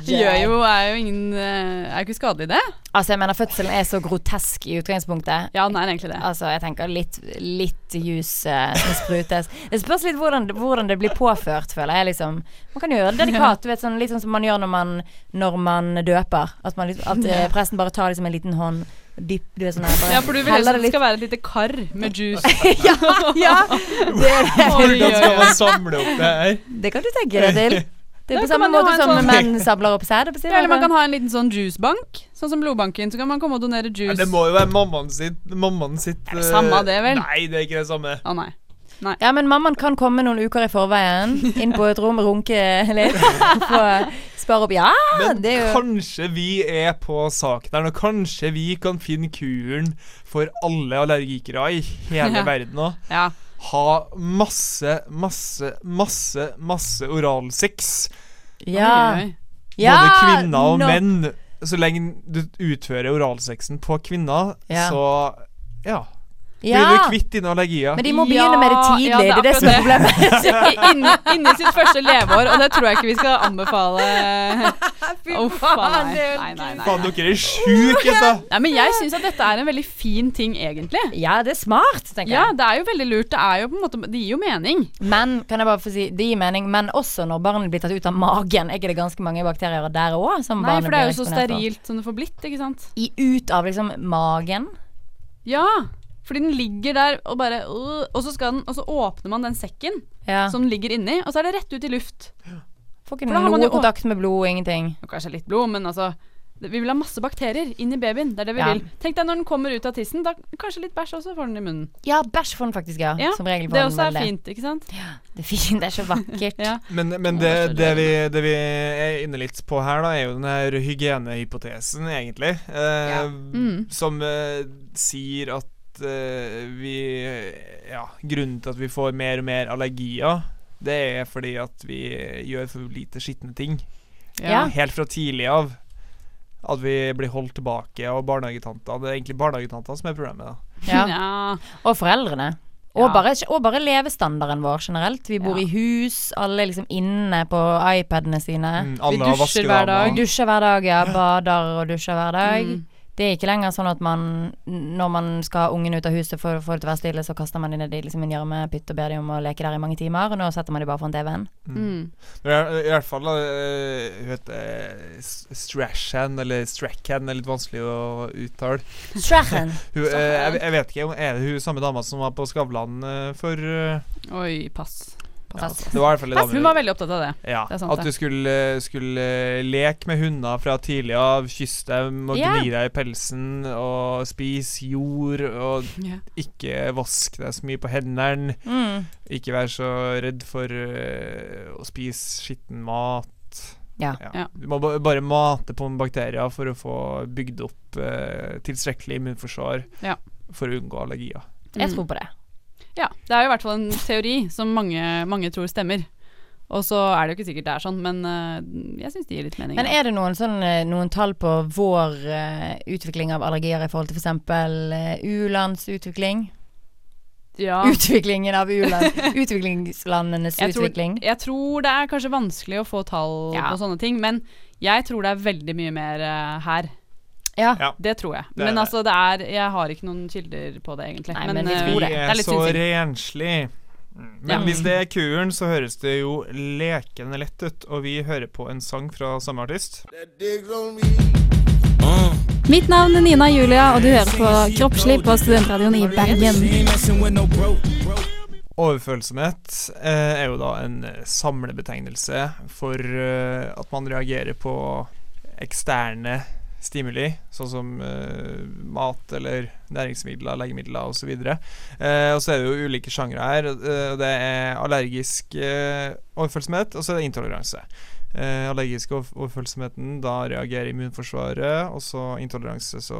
[SPEAKER 3] Gjør jo, er jo ingen eh, Er jo ikke skadelig, det?
[SPEAKER 4] Altså, jeg mener fødselen er så grotesk i utgangspunktet.
[SPEAKER 3] Ja, den er egentlig det.
[SPEAKER 4] Altså, jeg tenker litt, litt juice eh, som sprutes. Det spørs litt hvordan, det- hvordan det blir påført, føler jeg. liksom Man kan jo gjøre det delikat, du vet, sånn, litt sånn som man gjør når man, når man døper. At, man, liksom- at eh, presten bare tar liksom en liten hånd dypp, du vet, sånn her, bare
[SPEAKER 3] Ja, for du vil helst
[SPEAKER 4] heller
[SPEAKER 3] at
[SPEAKER 4] det
[SPEAKER 3] det
[SPEAKER 4] litt
[SPEAKER 3] skal være et lite kar med juice.
[SPEAKER 4] ja, ja, det,
[SPEAKER 3] Oi, oi,
[SPEAKER 1] Hvordan skal
[SPEAKER 3] oi.
[SPEAKER 1] man samle opp det her?
[SPEAKER 4] det kan du tenke deg til. Det er
[SPEAKER 3] Da
[SPEAKER 4] på
[SPEAKER 3] kan
[SPEAKER 4] samme
[SPEAKER 3] man jo
[SPEAKER 4] måte
[SPEAKER 3] ha en
[SPEAKER 4] som
[SPEAKER 3] sånn-
[SPEAKER 4] menn sabler opp sæd. på siden
[SPEAKER 3] Ja, eller man
[SPEAKER 4] av
[SPEAKER 3] kan ha en liten sånn juicebank, sånn som blodbanken. Så kan man komme og donere
[SPEAKER 1] Ja,
[SPEAKER 3] juice.
[SPEAKER 1] det må jo være mammaen sitt, mammaen sitt
[SPEAKER 3] Er det samme
[SPEAKER 1] eh,
[SPEAKER 3] det, vel?
[SPEAKER 1] Nei, det er ikke det samme.
[SPEAKER 3] Å nei.
[SPEAKER 4] Ja, men mammaen kan komme noen uker i forveien. Inn på et rom, runke litt. Få spare opp Ja,
[SPEAKER 1] Men
[SPEAKER 4] Ah, det er jo
[SPEAKER 1] kanskje vi er på saken her nå. Kanskje vi kan finne kuren for alle allergikere i hele
[SPEAKER 3] Ja.
[SPEAKER 1] verden nå.
[SPEAKER 3] Ja.
[SPEAKER 1] Ha masse, masse, masse, masse oralsex.
[SPEAKER 3] Oi, oi.
[SPEAKER 4] ja,
[SPEAKER 1] Både kvinner og
[SPEAKER 4] nå-
[SPEAKER 1] menn. Så lenge du utfører oralsexen på kvinner,
[SPEAKER 4] Ja.
[SPEAKER 1] så ja. Blir du
[SPEAKER 4] Ja.
[SPEAKER 1] kvitt dine allergier?
[SPEAKER 4] Men de må
[SPEAKER 3] Ja,
[SPEAKER 4] begynne med det tidlig.
[SPEAKER 3] ja, det
[SPEAKER 4] det,
[SPEAKER 3] er
[SPEAKER 4] er det som er problemet.
[SPEAKER 3] Inni inni sitt første leveår, og det tror jeg ikke vi skal anbefale. Uff, nei. Nei, nei, nei.
[SPEAKER 1] Faen, dere er sjuke, altså!
[SPEAKER 3] Nei, men jeg syns at dette er en veldig fin ting, egentlig.
[SPEAKER 4] Ja, det er smart, tenker
[SPEAKER 3] Ja,
[SPEAKER 4] jeg.
[SPEAKER 3] det er jo veldig lurt. Det er jo på en måte Det gir jo mening.
[SPEAKER 4] Men kan jeg bare få si, det gir mening, men også når barnet blir tatt ut av magen. Er ikke det ganske mange bakterier der òg?
[SPEAKER 3] Nei, for det er jo så sterilt som det får blitt, ikke sant.
[SPEAKER 4] I, ut av liksom magen.
[SPEAKER 3] Ja, fordi den ligger der og bare øh, og, så skal den, og så åpner man den sekken
[SPEAKER 4] Ja.
[SPEAKER 3] som den ligger inni, og så er det rett ut i luft.
[SPEAKER 4] Får ikke
[SPEAKER 3] for da har man
[SPEAKER 4] noe
[SPEAKER 3] jo-
[SPEAKER 4] kontakt med blod, ingenting.
[SPEAKER 3] Og kanskje litt blod, men altså det- Vi vil ha masse bakterier inn i babyen. Det er det vi
[SPEAKER 4] Ja.
[SPEAKER 3] vil. Tenk deg når den kommer ut av tissen, da kanskje litt bæsj også får den i munnen.
[SPEAKER 4] Ja, bæsj får den faktisk, ja.
[SPEAKER 3] Ja,
[SPEAKER 4] som regel får
[SPEAKER 3] Det
[SPEAKER 4] den
[SPEAKER 3] også
[SPEAKER 4] vel
[SPEAKER 3] er fint, ikke sant?
[SPEAKER 4] Det er fint, det er så vakkert.
[SPEAKER 3] Ja.
[SPEAKER 1] Men, men det, det, vi, det vi er inne litt på her, da, er jo den her hygienehypotesen, egentlig. Eh,
[SPEAKER 3] Mm.
[SPEAKER 1] Som eh, sier at eh, vi Ja, grunnen til at vi får mer og mer allergier, det er fordi at vi gjør for lite skitne ting.
[SPEAKER 4] Ja.
[SPEAKER 1] Helt fra tidlig av. At vi blir holdt tilbake av barnehagetanter. Det er egentlig barnehagetanter som er problemet. da
[SPEAKER 4] Ja.
[SPEAKER 3] Nja.
[SPEAKER 4] Og foreldrene. Og,
[SPEAKER 3] Ja.
[SPEAKER 4] bare, og bare levestandarden vår generelt. Vi bor
[SPEAKER 3] Ja.
[SPEAKER 4] i hus, alle er liksom inne på iPadene sine.
[SPEAKER 1] Mm,
[SPEAKER 3] Vi
[SPEAKER 1] alle har
[SPEAKER 3] dusjer hver
[SPEAKER 4] Vi
[SPEAKER 1] vaskedama.
[SPEAKER 4] dusjer hver dag, ja. Bader og dusjer hver dag.
[SPEAKER 3] Mm.
[SPEAKER 4] Det er ikke lenger sånn at man når man skal ha ungen ut av huset for, for det til å være stille, så kaster man dem ned i liksom en gjørmepytt og ber dem om å leke der i mange timer. Og nå setter man dem bare foran TV-en.
[SPEAKER 3] Mm.
[SPEAKER 1] Men I, I hvert fall eh, Hun heter uh, Strashan, eller Strachan, er litt vanskelig å uttale.
[SPEAKER 4] Strachen.
[SPEAKER 1] Hun, eh, jeg, jeg vet ikke om Er det hun samme dama som var på Skavlan eh, for eh,
[SPEAKER 3] Oi, pass.
[SPEAKER 1] ja,
[SPEAKER 3] pass.
[SPEAKER 1] Det var i hvert fall en
[SPEAKER 3] Hun var
[SPEAKER 1] dame.
[SPEAKER 3] veldig opptatt av det.
[SPEAKER 1] Ja,
[SPEAKER 3] det er sant,
[SPEAKER 1] at du skulle, skulle eh, leke med hunder fra tidlig av, kysse dem og
[SPEAKER 4] Ja.
[SPEAKER 1] gni deg i pelsen og spise jord og ikke vask deg så mye på hendene.
[SPEAKER 4] Mm.
[SPEAKER 1] Ikke være så redd for eh, å spise skitten mat.
[SPEAKER 4] Ja.
[SPEAKER 3] Ja.
[SPEAKER 1] Du må ba- bare mate på med bakterier for å få bygd opp eh, tilstrekkelig immunforsvar
[SPEAKER 3] Ja.
[SPEAKER 1] for å unngå allergier.
[SPEAKER 4] Jeg
[SPEAKER 3] Mm.
[SPEAKER 4] tror på det.
[SPEAKER 3] Ja, det er jo i hvert fall en teori som mange, mange tror stemmer. Og så er det jo ikke sikkert det er sånn, men øh, jeg syns det gir litt mening.
[SPEAKER 4] Men er det noen, sånn, eh, noen tall på vår eh, utvikling av allergier i forhold til f.eks. u-landsutvikling?
[SPEAKER 3] ja.
[SPEAKER 4] Utviklingen av u-land. Utviklingslandenes
[SPEAKER 3] Jeg tror-
[SPEAKER 4] utvikling.
[SPEAKER 3] Jeg tror det er kanskje vanskelig å få tall
[SPEAKER 4] Ja.
[SPEAKER 3] på sånne ting, men jeg tror det er veldig mye mer eh, her.
[SPEAKER 4] Ja.
[SPEAKER 1] Ja.
[SPEAKER 3] Det tror jeg.
[SPEAKER 1] Det er
[SPEAKER 3] men
[SPEAKER 1] det.
[SPEAKER 3] altså, det er Jeg har ikke noen kilder på det, egentlig.
[SPEAKER 4] Nei, men vi
[SPEAKER 3] eh,
[SPEAKER 4] tror
[SPEAKER 1] Vi
[SPEAKER 4] det.
[SPEAKER 1] er
[SPEAKER 3] litt
[SPEAKER 1] så
[SPEAKER 3] synsing.
[SPEAKER 1] renslige. Men
[SPEAKER 3] Ja.
[SPEAKER 1] hvis det er kuren, så høres det jo lekende lett ut, og vi hører på en sang fra samme artist.
[SPEAKER 6] Mitt navn er Nina Julia, og du hører på Kroppslig på Studentradioen i Bergen.
[SPEAKER 1] Overfølsomhet eh, er jo da en eh, samlebetegnelse for eh, at man reagerer på eksterne stimuli, sånn som eh, mat eller næringsmidler, legemidler osv. Eh, og så er det jo ulike sjangre her. Eh, og det er allergisk eh, overfølsomhet, og så er det intoleranse. Eh, allergisk ov- overfølsomheten, da reagerer immunforsvaret, og så intoleranse, så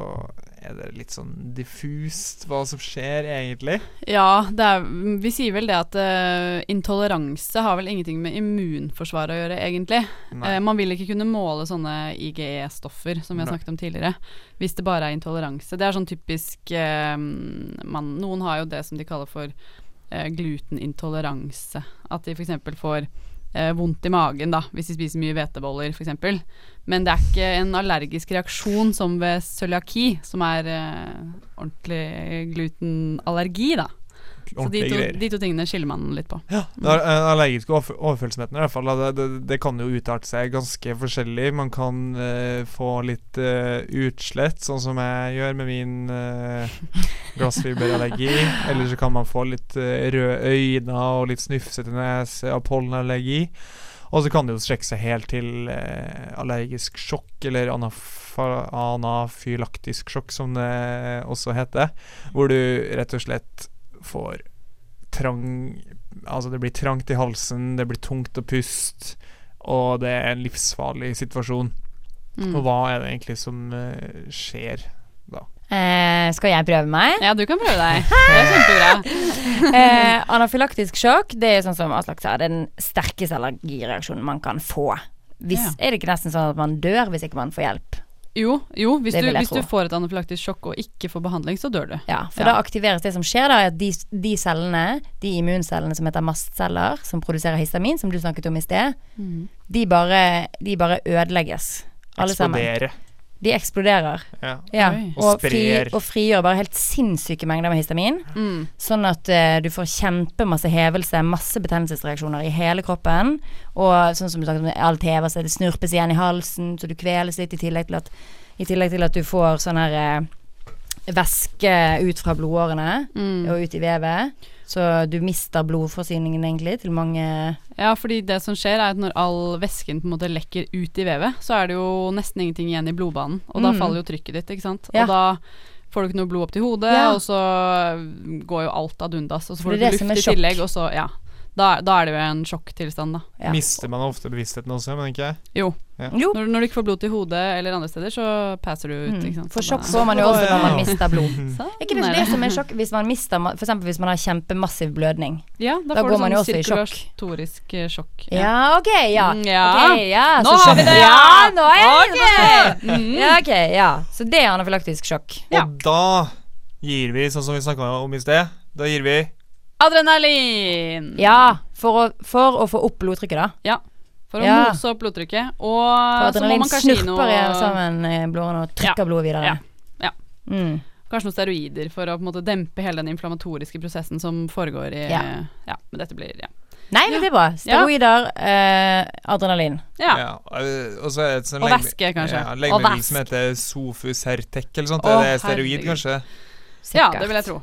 [SPEAKER 1] er det litt sånn diffust hva som skjer egentlig.
[SPEAKER 3] Ja, det er, vi sier vel det at eh, intoleranse har vel ingenting med immunforsvaret å gjøre, egentlig. Eh, man vil ikke kunne måle sånne IGE-stoffer som vi har
[SPEAKER 1] Nei.
[SPEAKER 3] snakket om tidligere, hvis det bare er intoleranse. Det er sånn typisk eh, man, Noen har jo det som de kaller for eh, glutenintoleranse. At de f.eks. får eh, vondt i magen da, hvis de spiser mye hveteboller, f.eks. Men det er ikke en allergisk reaksjon som ved cøliaki, som er eh, ordentlig glutenallergi, da. Så de
[SPEAKER 1] Ordentlige
[SPEAKER 3] to,
[SPEAKER 1] greier.
[SPEAKER 3] de to tingene skiller man litt på.
[SPEAKER 1] Ja, den aller- den eh, allergiske overf- overfølsomheten i hvert fall, det, det, det kan jo utarte seg ganske forskjellig. Man kan eh, få litt eh, utslett, sånn som jeg gjør med min eh, glassfiberallergi. Eller så kan man få litt eh, røde øyne og litt snufsete nese av pollenallergi. Og så kan det jo strekke seg helt til eh, allergisk sjokk, eller anaf anafylaktisk sjokk, som det også heter. Hvor du rett og slett får trang Altså, det blir trangt i halsen, det blir tungt å puste, og det er en livsfarlig situasjon.
[SPEAKER 3] Mm.
[SPEAKER 1] Og hva er det egentlig som eh, skjer?
[SPEAKER 4] Eh, skal jeg prøve meg?
[SPEAKER 3] Ja, du kan prøve deg. Det er kjempebra.
[SPEAKER 4] Eh, anafylaktisk sjokk, det er sånn som Aslak sa, det er den sterkeste allergireaksjonen man kan få. Hvis, Er det ikke nesten sånn at man dør hvis ikke man får hjelp?
[SPEAKER 3] Jo, jo hvis,
[SPEAKER 4] Det
[SPEAKER 3] du,
[SPEAKER 4] vil jeg
[SPEAKER 3] hvis du
[SPEAKER 4] tro.
[SPEAKER 3] får et anafylaktisk sjokk og ikke får behandling, så dør du.
[SPEAKER 4] Ja, For
[SPEAKER 3] Ja.
[SPEAKER 4] da aktiveres det som skjer, da, er at de, de cellene, de immuncellene som heter mastceller, som produserer histamin, som du snakket om i sted, de bare, de bare ødelegges. Alle sammen.
[SPEAKER 1] Eksplodere.
[SPEAKER 4] De eksploderer.
[SPEAKER 1] Ja.
[SPEAKER 4] Ja.
[SPEAKER 3] Oi.
[SPEAKER 1] Og sprer.
[SPEAKER 4] og frigjør bare helt sinnssyke mengder med histamin.
[SPEAKER 3] Mm.
[SPEAKER 4] Sånn at eh, du får kjempemasse hevelse, masse betennelsesreaksjoner i hele kroppen. Og sånn som du snakket om, alt hever seg, det snurpes igjen i halsen, så du kveles litt, i tillegg til at, i tillegg til at du får sånn her eh, væske ut fra blodårene
[SPEAKER 3] Mm.
[SPEAKER 4] og ut i vevet. Så du mister blodforsyningen egentlig til mange
[SPEAKER 3] Ja, fordi det som skjer er at når all væsken på en måte lekker ut i vevet, så er det jo nesten ingenting igjen i blodbanen, og da
[SPEAKER 4] Mm.
[SPEAKER 3] faller jo trykket ditt, ikke sant.
[SPEAKER 4] Ja.
[SPEAKER 3] Og da får du ikke noe blod opp til hodet,
[SPEAKER 4] Ja.
[SPEAKER 3] og så går jo alt ad undas, og så
[SPEAKER 4] For
[SPEAKER 3] får du
[SPEAKER 4] det er
[SPEAKER 3] ikke
[SPEAKER 4] det
[SPEAKER 3] luft i
[SPEAKER 4] som er
[SPEAKER 3] tillegg, og så, ja. Da, da er det jo en sjokktilstand, da.
[SPEAKER 4] ja.
[SPEAKER 1] Mister man ofte bevisstheten også, men ikke
[SPEAKER 3] Jo.
[SPEAKER 4] Jo,
[SPEAKER 3] Når, når du ikke får blod til hodet eller andre steder, så passer du ut, ikke
[SPEAKER 4] mm.
[SPEAKER 3] sant.
[SPEAKER 4] for
[SPEAKER 3] Så da-
[SPEAKER 4] sjokk får man jo også når man mister blod.
[SPEAKER 3] Sånn
[SPEAKER 4] Er ikke det
[SPEAKER 3] er
[SPEAKER 4] det som er sjokk hvis man mister ma- For eksempel hvis man har kjempemassiv blødning?
[SPEAKER 3] Ja, da,
[SPEAKER 4] Da
[SPEAKER 3] får
[SPEAKER 4] går man
[SPEAKER 3] du sånn
[SPEAKER 4] jo også i sjokk.
[SPEAKER 3] sirkulatorisk eh, sjokk.
[SPEAKER 4] Ja, ok, ja.
[SPEAKER 3] Mm, ja.
[SPEAKER 4] Ok, ja,
[SPEAKER 3] Nå
[SPEAKER 4] så
[SPEAKER 3] har
[SPEAKER 4] skjønner-
[SPEAKER 3] vi det, ja.
[SPEAKER 4] Ja, nå er
[SPEAKER 3] Ok. Mm.
[SPEAKER 4] Mm. det! Ja, ok, ja. Så det er anafylaktisk sjokk.
[SPEAKER 1] Og da gir vi, sånn som vi snakka om i sted Da gir vi
[SPEAKER 3] Adrenalin!
[SPEAKER 4] Ja, for å, for å få opp blodtrykket, da.
[SPEAKER 3] For å
[SPEAKER 4] Ja.
[SPEAKER 3] mose opp blodtrykket. Og
[SPEAKER 4] For
[SPEAKER 3] så må
[SPEAKER 4] adrenalin
[SPEAKER 3] man kanskje gi
[SPEAKER 4] snurper
[SPEAKER 3] noe,
[SPEAKER 4] igjen sammen i blodårene og trykker blodet videre.
[SPEAKER 3] Ja. Ja.
[SPEAKER 4] Mm.
[SPEAKER 3] kanskje noen steroider for å på en måte dempe hele den inflammatoriske prosessen som foregår i
[SPEAKER 4] Ja.
[SPEAKER 3] Ja, men dette blir ja.
[SPEAKER 4] Nei, men det er bra. Steroider, eh, adrenalin.
[SPEAKER 3] ja.
[SPEAKER 1] Ja, øh, og så er det et sånt
[SPEAKER 3] Og
[SPEAKER 1] legeme-
[SPEAKER 3] væske, kanskje.
[SPEAKER 1] Ja,
[SPEAKER 4] Og
[SPEAKER 1] legemiddel
[SPEAKER 4] væsk.
[SPEAKER 1] som heter sofusertek eller sånt.
[SPEAKER 3] Å,
[SPEAKER 1] det er steroid,
[SPEAKER 3] herregud.
[SPEAKER 1] kanskje.
[SPEAKER 3] ja,
[SPEAKER 4] Sikkert.
[SPEAKER 3] det vil jeg tro.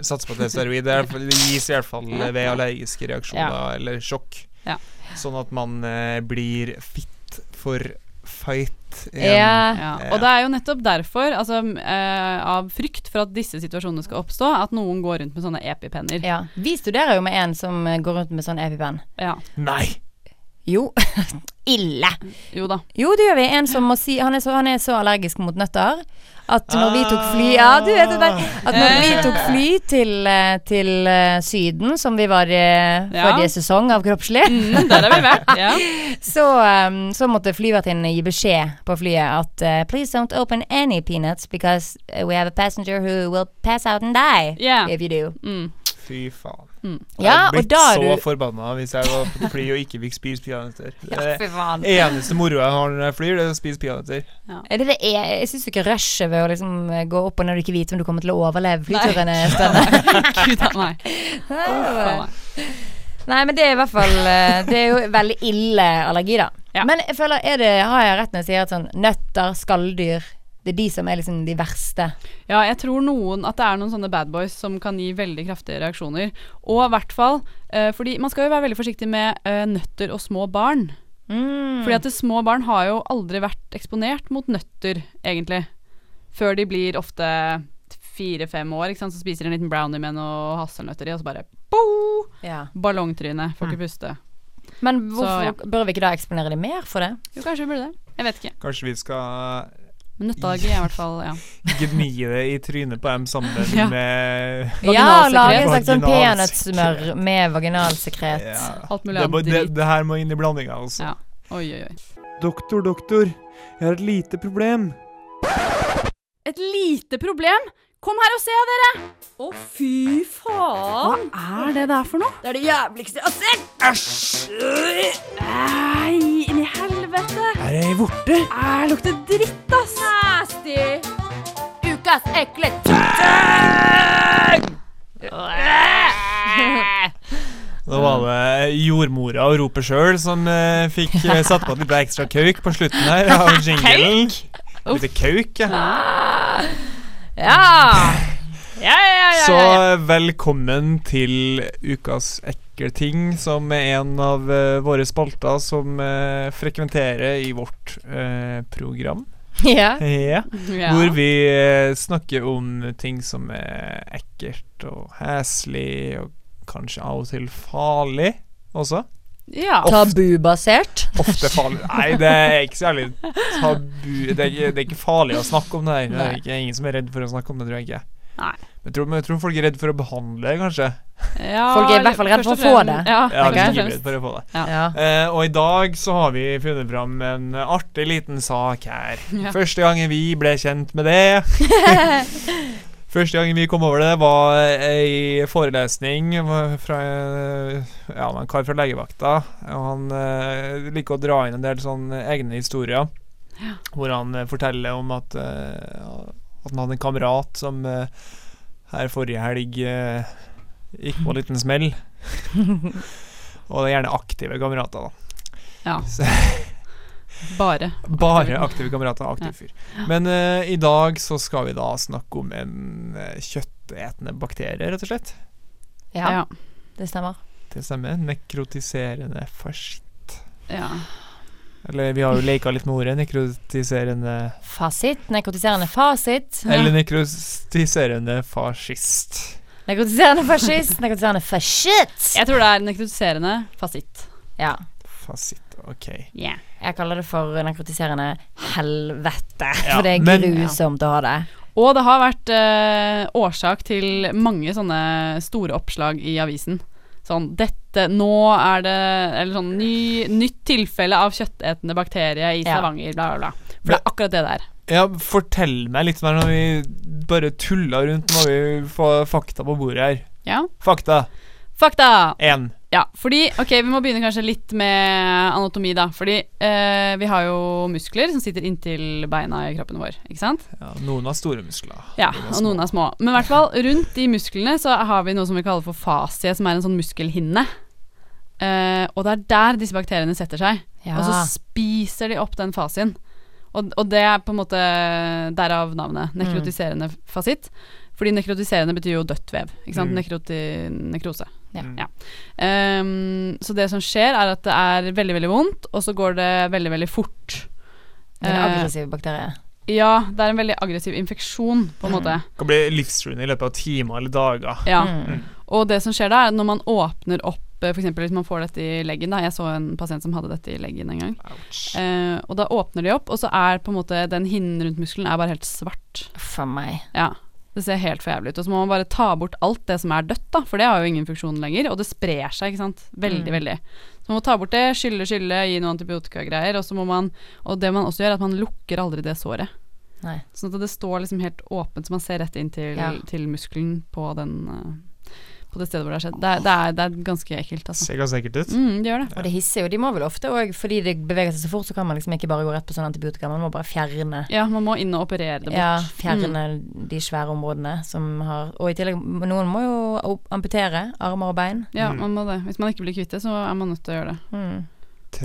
[SPEAKER 1] Satser på at det er steroid. Det, er, i hvert fall- det gis i hvert fall ved allergiske reaksjoner eller sjokk.
[SPEAKER 3] Ja.
[SPEAKER 1] Sånn at man eh, blir fit for fight igjen.
[SPEAKER 4] Ja.
[SPEAKER 3] Ja.
[SPEAKER 1] Ja.
[SPEAKER 3] Og det er jo nettopp derfor, altså, m, eh, av frykt for at disse situasjonene skal oppstå, at noen går rundt med sånne epipenner.
[SPEAKER 4] ja. Vi studerer jo med en som eh, går rundt med sånn EpiPen.
[SPEAKER 3] Ja.
[SPEAKER 1] Nei!
[SPEAKER 4] Jo. Ille.
[SPEAKER 3] Jo da.
[SPEAKER 4] Jo, det gjør vi. En som må si Han er så, han er så allergisk mot nøtter at når vi tok fly Ja, du vet det der.
[SPEAKER 1] Ah,
[SPEAKER 4] At når vi tok fly til, eh, til eh, Syden, som vi var i
[SPEAKER 3] Ja.
[SPEAKER 4] forrige sesong av Kroppslig,
[SPEAKER 3] Mm, der har vi vært. Ja.
[SPEAKER 4] så, um, så måtte flyvertinnen gi beskjed på flyet at eh, Please don't open any peanuts because eh, we have a passenger who will pass out and die
[SPEAKER 3] Yeah.
[SPEAKER 4] if you do.
[SPEAKER 3] Mm.
[SPEAKER 1] Fy faen. Jeg
[SPEAKER 4] Ja,
[SPEAKER 1] hadde
[SPEAKER 4] og
[SPEAKER 1] blitt
[SPEAKER 4] da er
[SPEAKER 1] så
[SPEAKER 4] du
[SPEAKER 1] forbanna hvis jeg var på fly og ikke fikk spise peanøtter.
[SPEAKER 4] Ja,
[SPEAKER 1] Det
[SPEAKER 4] fy faen.
[SPEAKER 1] eneste moroa jeg har når jeg flyr, det er å spise peanøtter.
[SPEAKER 4] Er det det er, jeg syns ikke rushet ved å liksom eh, gå opp og ned og ikke vite om du kommer til å overleve flyturen er spennende.
[SPEAKER 3] Gud a meg. Faen meg.
[SPEAKER 4] Nei, men det er i hvert fall eh, Det er jo veldig ille allergi, da.
[SPEAKER 3] Ja.
[SPEAKER 4] Men jeg føler, er det, har jeg rett når jeg sier at sånn nøtter, skalldyr Det er de som er liksom de verste.
[SPEAKER 3] Ja, jeg tror noen at det er noen sånne bad boys som kan gi veldig kraftige reaksjoner. Og i hvert fall eh, Fordi man skal jo være veldig forsiktig med eh, nøtter og små barn.
[SPEAKER 4] Mm.
[SPEAKER 3] Fordi at det små barn har jo aldri vært eksponert mot nøtter, egentlig. Før de blir ofte fire-fem år, ikke sant? så spiser de en liten brownie med noe hasselnøtter i, og så bare bo!
[SPEAKER 4] ja.
[SPEAKER 3] Ballongtryne, får ikke puste.
[SPEAKER 4] Men
[SPEAKER 3] Så,
[SPEAKER 4] hvorfor
[SPEAKER 3] ja.
[SPEAKER 4] bør vi ikke da eksponere de mer for det?
[SPEAKER 3] Jo, kanskje vi burde det. Jeg vet ikke.
[SPEAKER 1] Kanskje vi skal
[SPEAKER 3] Men nøtteallergi er i hvert fall ja.
[SPEAKER 1] gni det i trynet på dem sammen
[SPEAKER 3] Ja.
[SPEAKER 1] med
[SPEAKER 4] Ja,
[SPEAKER 3] Vaginalsekret.
[SPEAKER 4] lage en slags sånn
[SPEAKER 1] Vaginalsekret.
[SPEAKER 4] peanøttsmør med vaginalsekret.
[SPEAKER 1] Ja.
[SPEAKER 3] alt mulig
[SPEAKER 1] Det, må,
[SPEAKER 3] annet
[SPEAKER 1] det,
[SPEAKER 3] dritt.
[SPEAKER 1] det her må inn i blandinga, altså.
[SPEAKER 3] Ja. Oi, oi, oi.
[SPEAKER 1] Doktor, doktor, jeg har et lite problem.
[SPEAKER 3] Et lite problem! Kom her og se, dere!
[SPEAKER 6] Å, fy faen!
[SPEAKER 3] Hva er det der for noe?
[SPEAKER 2] Det er det jævligste jeg har sett!
[SPEAKER 6] Nei, inni helvete!
[SPEAKER 1] Er det ei vorte?
[SPEAKER 6] Æ, lukter dritt, ass! Nasty!
[SPEAKER 4] Ukas ekle
[SPEAKER 1] Da var det jordmora og ropet sjøl som eh, fikk eh, satt på litt ekstra kauk på slutten her av jinglen. Litt kauk, ja.
[SPEAKER 4] Ja!
[SPEAKER 1] Så eh, velkommen til ukas ekle ting, som er en av eh, våre spalter som eh, frekventerer i vårt eh, program.
[SPEAKER 4] ja.
[SPEAKER 1] Ja.
[SPEAKER 3] Ja.
[SPEAKER 1] Hvor vi eh, snakker om ting som er ekkelt og heslig, og kanskje av og til farlig også.
[SPEAKER 3] ja.
[SPEAKER 4] Tabubasert.
[SPEAKER 1] Ofte farlig. Nei, det er ikke særlig tabu Det er ikke, det er ikke farlig å snakke om det her. Det er ikke ingen som er redd for å snakke om det, tror jeg ikke.
[SPEAKER 3] Nei.
[SPEAKER 1] Men jeg tror, men jeg tror folk er redd for å behandle det, kanskje.
[SPEAKER 3] Ja,
[SPEAKER 4] Folk er i hvert fall redd
[SPEAKER 3] først og
[SPEAKER 4] for å få
[SPEAKER 3] fremst-
[SPEAKER 4] det.
[SPEAKER 3] Ja,
[SPEAKER 1] Ja, de
[SPEAKER 3] først
[SPEAKER 1] er
[SPEAKER 3] og
[SPEAKER 1] livredd
[SPEAKER 3] fremst.
[SPEAKER 1] for å få det.
[SPEAKER 4] Ja.
[SPEAKER 1] Eh, og i dag så har vi funnet fram en artig liten sak her.
[SPEAKER 3] Ja.
[SPEAKER 1] Første gangen vi ble kjent med det Første gangen vi kom over det, var ei forelesning fra eh, ja, en kar fra legevakta. Og han eh, liker å dra inn en del sånne egne historier, hvor han eh, forteller om at, eh, at han hadde en kamerat som eh, her forrige helg eh, gikk på en liten smell. Og det er gjerne aktive kamerater, da.
[SPEAKER 3] Ja.
[SPEAKER 1] Så-
[SPEAKER 3] Bare.
[SPEAKER 1] Bare aktive kamerater. Aktiv fyr. Men eh, i dag så skal vi da snakke om en eh, kjøttetende bakterie, rett og slett.
[SPEAKER 4] ja.
[SPEAKER 3] Ja.
[SPEAKER 4] Det stemmer.
[SPEAKER 1] Det stemmer. Nekrotiserende fascitt.
[SPEAKER 3] ja.
[SPEAKER 1] Eller vi har jo leka litt med ordet. Nekrotiserende
[SPEAKER 4] Fasit. Nekrotiserende fasit.
[SPEAKER 1] Eller nekrotiserende fascist.
[SPEAKER 4] Nekrotiserende fascist. Nekrotiserende fascist.
[SPEAKER 3] Jeg tror det er nekrotiserende fasitt.
[SPEAKER 4] Ja.
[SPEAKER 1] Fasitt. Ok.
[SPEAKER 4] Jeg kaller det for nekrotiserende helvete.
[SPEAKER 1] Ja,
[SPEAKER 4] For det er
[SPEAKER 1] men-
[SPEAKER 4] grusomt å ha det.
[SPEAKER 3] Og det har vært eh, årsak til mange sånne store oppslag i avisen. Sånn dette, nå er det Eller sånn ny, nytt tilfelle av kjøttetende bakterie i
[SPEAKER 4] Ja.
[SPEAKER 3] Stavanger, bla, bla, bla. For det er akkurat det der.
[SPEAKER 1] Ja, fortell meg litt mer når vi bare tulla rundt. Må vi få fakta på bordet her.
[SPEAKER 3] Ja.
[SPEAKER 1] Fakta
[SPEAKER 3] Fakta!
[SPEAKER 1] én.
[SPEAKER 3] Ja, fordi Ok, vi må begynne kanskje litt med anatomi, da. Fordi eh, vi har jo muskler som sitter inntil beina i kroppen vår, ikke sant?
[SPEAKER 1] Ja, noen har store muskler.
[SPEAKER 3] Ja, og noen er små. Men i hvert fall rundt de musklene så har vi noe som vi kaller for fasie, som er en sånn muskelhinne. Eh, og det er der disse bakteriene setter seg. Og så spiser de opp den fasien. Og, og det er på en måte derav navnet.
[SPEAKER 4] Mm.
[SPEAKER 3] Nekrotiserende fasitt. Fordi nekrotiserende betyr jo dødt vev. Ikke sant?
[SPEAKER 1] Mm.
[SPEAKER 3] Nekroti, nekrose.
[SPEAKER 4] Ja.
[SPEAKER 1] Mm.
[SPEAKER 3] Ja. Ehm, så det som skjer, er at det er veldig, veldig vondt, og så går det veldig, veldig fort.
[SPEAKER 4] Det er en
[SPEAKER 3] Eh,
[SPEAKER 4] aggressiv bakterie.
[SPEAKER 3] ja, det er en veldig aggressiv infeksjon, på en måte.
[SPEAKER 1] Kan bli livstruende i løpet av timer eller dager.
[SPEAKER 3] Ja.
[SPEAKER 4] Mm.
[SPEAKER 3] Og det som skjer da, er at når man åpner opp eh, for eksempel hvis man får dette i leggen da, Jeg så en pasient som hadde dette i leggen en gang.
[SPEAKER 1] Ouch.
[SPEAKER 3] Eh, og da åpner de opp, og så er på en måte den hinnen rundt muskelen er bare helt svart.
[SPEAKER 4] For meg.
[SPEAKER 3] Ja, Det ser helt for jævlig ut. Og så må man bare ta bort alt det som er dødt, da, for det har jo ingen funksjon lenger. Og det sprer seg, ikke sant.
[SPEAKER 4] Mm.
[SPEAKER 3] Veldig, veldig. Så man må ta bort det, skylle, skylle, gi noe antibiotikagreier. Og så må man, og det man også gjør, er at man lukker aldri det såret.
[SPEAKER 4] Nei.
[SPEAKER 3] Sånn at det står liksom helt åpent, så man ser rett inn til,
[SPEAKER 4] Ja.
[SPEAKER 3] til muskelen på den eh, På det stedet hvor det har skjedd. Det er, det er, det er ganske ekkelt, altså.
[SPEAKER 1] Ser ganske ekkelt ut.
[SPEAKER 3] Mm, det gjør det.
[SPEAKER 4] Og det hisser jo. De må vel ofte òg, fordi det beveger seg så fort, så kan man liksom ikke bare gå rett på sånn antibiotika. Man må bare fjerne.
[SPEAKER 3] Ja, man må inn og operere det bort. Mm.
[SPEAKER 4] Ja, fjerne de svære områdene som har Og i tillegg, noen må jo op- amputere armer og bein.
[SPEAKER 3] Ja,
[SPEAKER 1] Mm.
[SPEAKER 3] man må det. Hvis man ikke blir kvitt det, så er man nødt til å gjøre det.
[SPEAKER 4] Mm.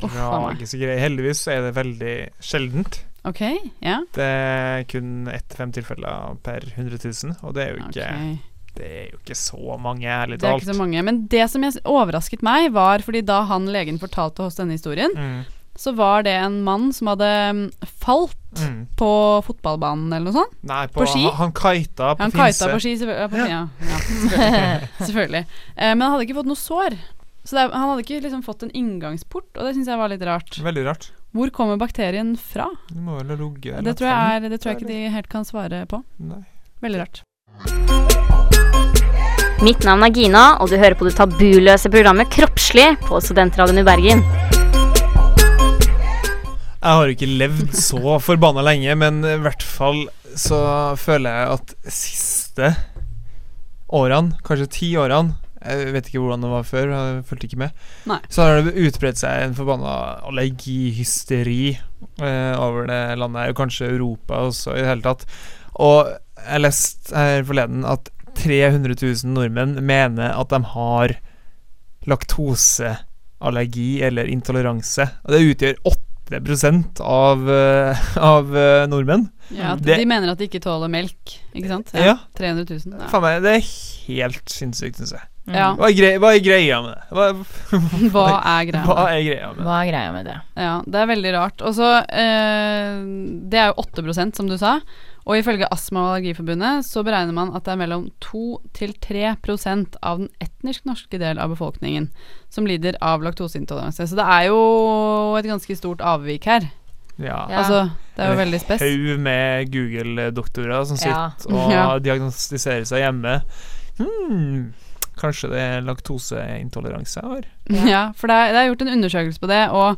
[SPEAKER 3] Uff, faen meg.
[SPEAKER 1] Tragiske greier. Heldigvis så er det veldig sjeldent.
[SPEAKER 3] Ok, ja.
[SPEAKER 1] Det er kun ett til fem tilfeller per 100 000, og det er jo
[SPEAKER 3] Ok.
[SPEAKER 1] ikke, det er jo ikke så mange, ærlig
[SPEAKER 3] Det er
[SPEAKER 1] talt.
[SPEAKER 3] ikke så mange. Men det som jeg s- overrasket meg, var fordi da han legen fortalte oss denne historien,
[SPEAKER 1] Mm,
[SPEAKER 3] så var det en mann som hadde mm, falt
[SPEAKER 1] mm.
[SPEAKER 3] på fotballbanen eller noe sånt.
[SPEAKER 1] Nei, på,
[SPEAKER 3] På ski?
[SPEAKER 1] Han, han kita på
[SPEAKER 3] Han
[SPEAKER 1] Finse.
[SPEAKER 3] kita på ski, selvfølgelig. Ja, på, ja. Ja, selvfølgelig. selvfølgelig. Eh, men han hadde ikke fått noe sår. Så det, er- han hadde ikke liksom fått en inngangsport, og det syns jeg var litt rart.
[SPEAKER 1] Veldig rart.
[SPEAKER 3] Hvor kommer bakterien fra?
[SPEAKER 1] Det må vel ha ligget der.
[SPEAKER 3] Det tror jeg, er, det tror jeg ikke de helt kan svare på.
[SPEAKER 1] Nei.
[SPEAKER 3] Veldig rart.
[SPEAKER 6] Mitt navn er Gina, og du hører på det tabuløse programmet Kroppslig på Studentradioen i Bergen.
[SPEAKER 1] Jeg har ikke levd så forbanna lenge, men i hvert fall så føler jeg at siste årene, kanskje tiårene Jeg vet ikke hvordan det var før, jeg fulgte ikke med.
[SPEAKER 3] Nei.
[SPEAKER 1] Så har det utbredt seg en forbanna allergihysteri eh, over det landet her, og kanskje Europa også i det hele tatt. Og jeg leste her forleden at 300 000 nordmenn mener at de har laktoseallergi eller intoleranse. Og det utgjør 8 av, eh, av eh, nordmenn.
[SPEAKER 3] Ja, at
[SPEAKER 1] Det-
[SPEAKER 3] de mener at de ikke tåler melk, ikke sant?
[SPEAKER 1] Ja.
[SPEAKER 3] 300 000. Ja.
[SPEAKER 1] Faen meg, det er helt sinnssykt, syns jeg.
[SPEAKER 4] Mm.
[SPEAKER 3] Ja.
[SPEAKER 1] Hva er, grei, hva er greia med det? Hva,
[SPEAKER 3] Hva er greia?
[SPEAKER 1] hva er greia med det?
[SPEAKER 4] Hva er greia med det?
[SPEAKER 3] Ja, det er veldig rart. Og så eh, Det er jo 8 som du sa. Og ifølge Astma- og allergiforbundet så beregner man at det er mellom 2-3 av den etnisk norske del av befolkningen som lider av laktoseintoleranse. Så det er jo et ganske stort avvik her.
[SPEAKER 1] Ja.
[SPEAKER 4] Ja.
[SPEAKER 3] Altså, det er jo
[SPEAKER 1] En
[SPEAKER 3] veldig spes.
[SPEAKER 1] Haug med Google-doktorer som
[SPEAKER 4] Ja.
[SPEAKER 1] sitter og
[SPEAKER 3] Ja.
[SPEAKER 1] diagnostiserer seg hjemme. Hmm, kanskje det er laktoseintoleranse jeg har?
[SPEAKER 3] Ja, for det er, det er gjort en undersøkelse på det, og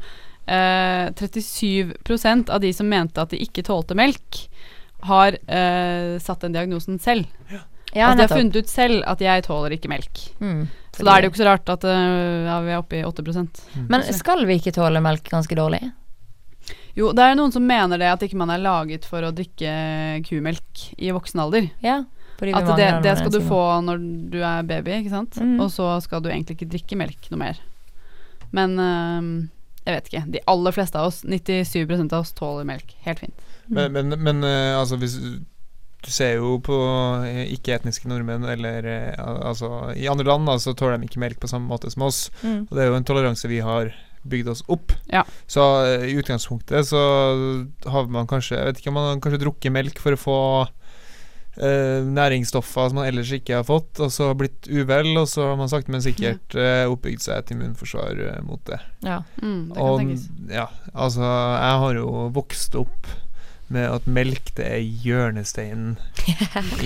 [SPEAKER 3] eh, 37 av de som mente at de ikke tålte melk, har eh, satt den diagnosen selv.
[SPEAKER 4] Ja,
[SPEAKER 3] altså, de har
[SPEAKER 4] nettopp.
[SPEAKER 3] funnet ut selv at 'jeg tåler ikke melk'.
[SPEAKER 4] Mm.
[SPEAKER 3] Så da er det jo ikke så rart at eh, ja, vi er oppe i 8
[SPEAKER 1] Hmm.
[SPEAKER 4] Men skal vi ikke tåle melk ganske dårlig?
[SPEAKER 3] Jo, det er noen som mener det, at ikke man er laget for å drikke kumelk i voksen alder.
[SPEAKER 4] Ja. Fordi vi
[SPEAKER 3] At
[SPEAKER 4] mangler
[SPEAKER 3] det,
[SPEAKER 4] noen
[SPEAKER 3] det skal du
[SPEAKER 4] enzymer.
[SPEAKER 3] få når du er baby, ikke sant?
[SPEAKER 4] Mm.
[SPEAKER 3] Og så skal du egentlig ikke drikke melk noe mer. Men eh, jeg vet ikke. De aller fleste av oss, 97 av oss, tåler melk helt fint.
[SPEAKER 1] Men, men, men eh, altså hvis Du ser jo på eh, ikke-etniske nordmenn eller eh, al- altså, I andre land da, så tåler de ikke melk på samme måte som oss.
[SPEAKER 4] Mm.
[SPEAKER 1] Og det er jo en toleranse vi har bygd oss opp.
[SPEAKER 3] Ja.
[SPEAKER 1] Så eh, i utgangspunktet så har man kanskje Jeg vet ikke om man har kanskje drukket melk for å få eh, næringsstoffer som man ellers ikke har fått, og så blitt uvel, og så har man sakte, men sikkert eh, oppbygd seg et immunforsvar eh, mot det.
[SPEAKER 4] Ja.
[SPEAKER 3] Mm, det kan
[SPEAKER 1] Og
[SPEAKER 3] tenkes.
[SPEAKER 1] ja, altså Jeg har jo vokst opp med at melk det er hjørnesteinen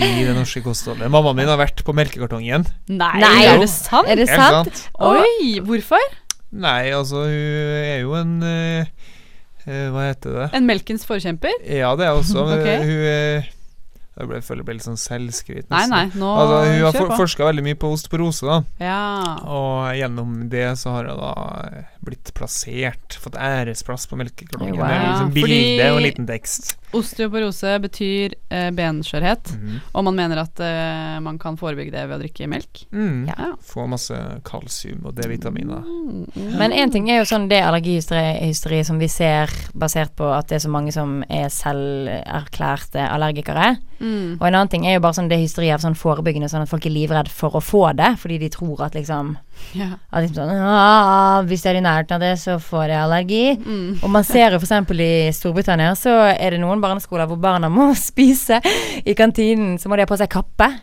[SPEAKER 1] i det norske kostholdet. Mammaen min har vært på melkekartongen.
[SPEAKER 3] Nei,
[SPEAKER 6] Nei.
[SPEAKER 3] er det sant?
[SPEAKER 4] Er det sant?
[SPEAKER 1] sant?
[SPEAKER 3] Oi, hvorfor?
[SPEAKER 1] Nei, altså hun er jo en eh, Eh, hva heter det?
[SPEAKER 3] En melkens forkjemper?
[SPEAKER 1] Ja, det er også men
[SPEAKER 3] Ok.
[SPEAKER 1] Hun eh, Jeg ble, føler jeg ble litt sånn selvskryt.
[SPEAKER 3] Nei,
[SPEAKER 1] nesten.
[SPEAKER 3] nei, nå
[SPEAKER 1] Altså, hun har
[SPEAKER 3] kjør
[SPEAKER 1] for,
[SPEAKER 3] på.
[SPEAKER 1] forska veldig mye på ost på rose, da.
[SPEAKER 3] Ja.
[SPEAKER 1] Og gjennom det så har hun da eh, blitt plassert, fått æresplass på melkekartongen.
[SPEAKER 4] Wow.
[SPEAKER 1] Det er liksom
[SPEAKER 3] Fordi-
[SPEAKER 1] bilde og en liten tekst.
[SPEAKER 3] Osteoporose betyr eh, benskjørhet,
[SPEAKER 1] Mm.
[SPEAKER 3] og man mener at eh, man kan forebygge det ved å drikke melk.
[SPEAKER 1] Mm.
[SPEAKER 3] Ja.
[SPEAKER 1] Få masse kalsium og D-vitaminer.
[SPEAKER 3] Mm, mm.
[SPEAKER 4] Men én ting er jo sånn det allergihysteri som vi ser basert på at det er så mange som er selverklærte allergikere.
[SPEAKER 3] Mm.
[SPEAKER 4] Og en annen ting er jo bare sånn det hysteriet av sånn forebyggende, sånn at folk er livredd for å få det, fordi de tror at liksom
[SPEAKER 3] Ja.
[SPEAKER 4] at liksom sånn, «Ah, Hvis jeg er i nærheten av det, så får jeg allergi.
[SPEAKER 3] Mm.
[SPEAKER 4] Og man ser jo f.eks. i Storbritannia så er det noen barneskoler hvor barna må spise i kantinen, så må de ha på seg kappe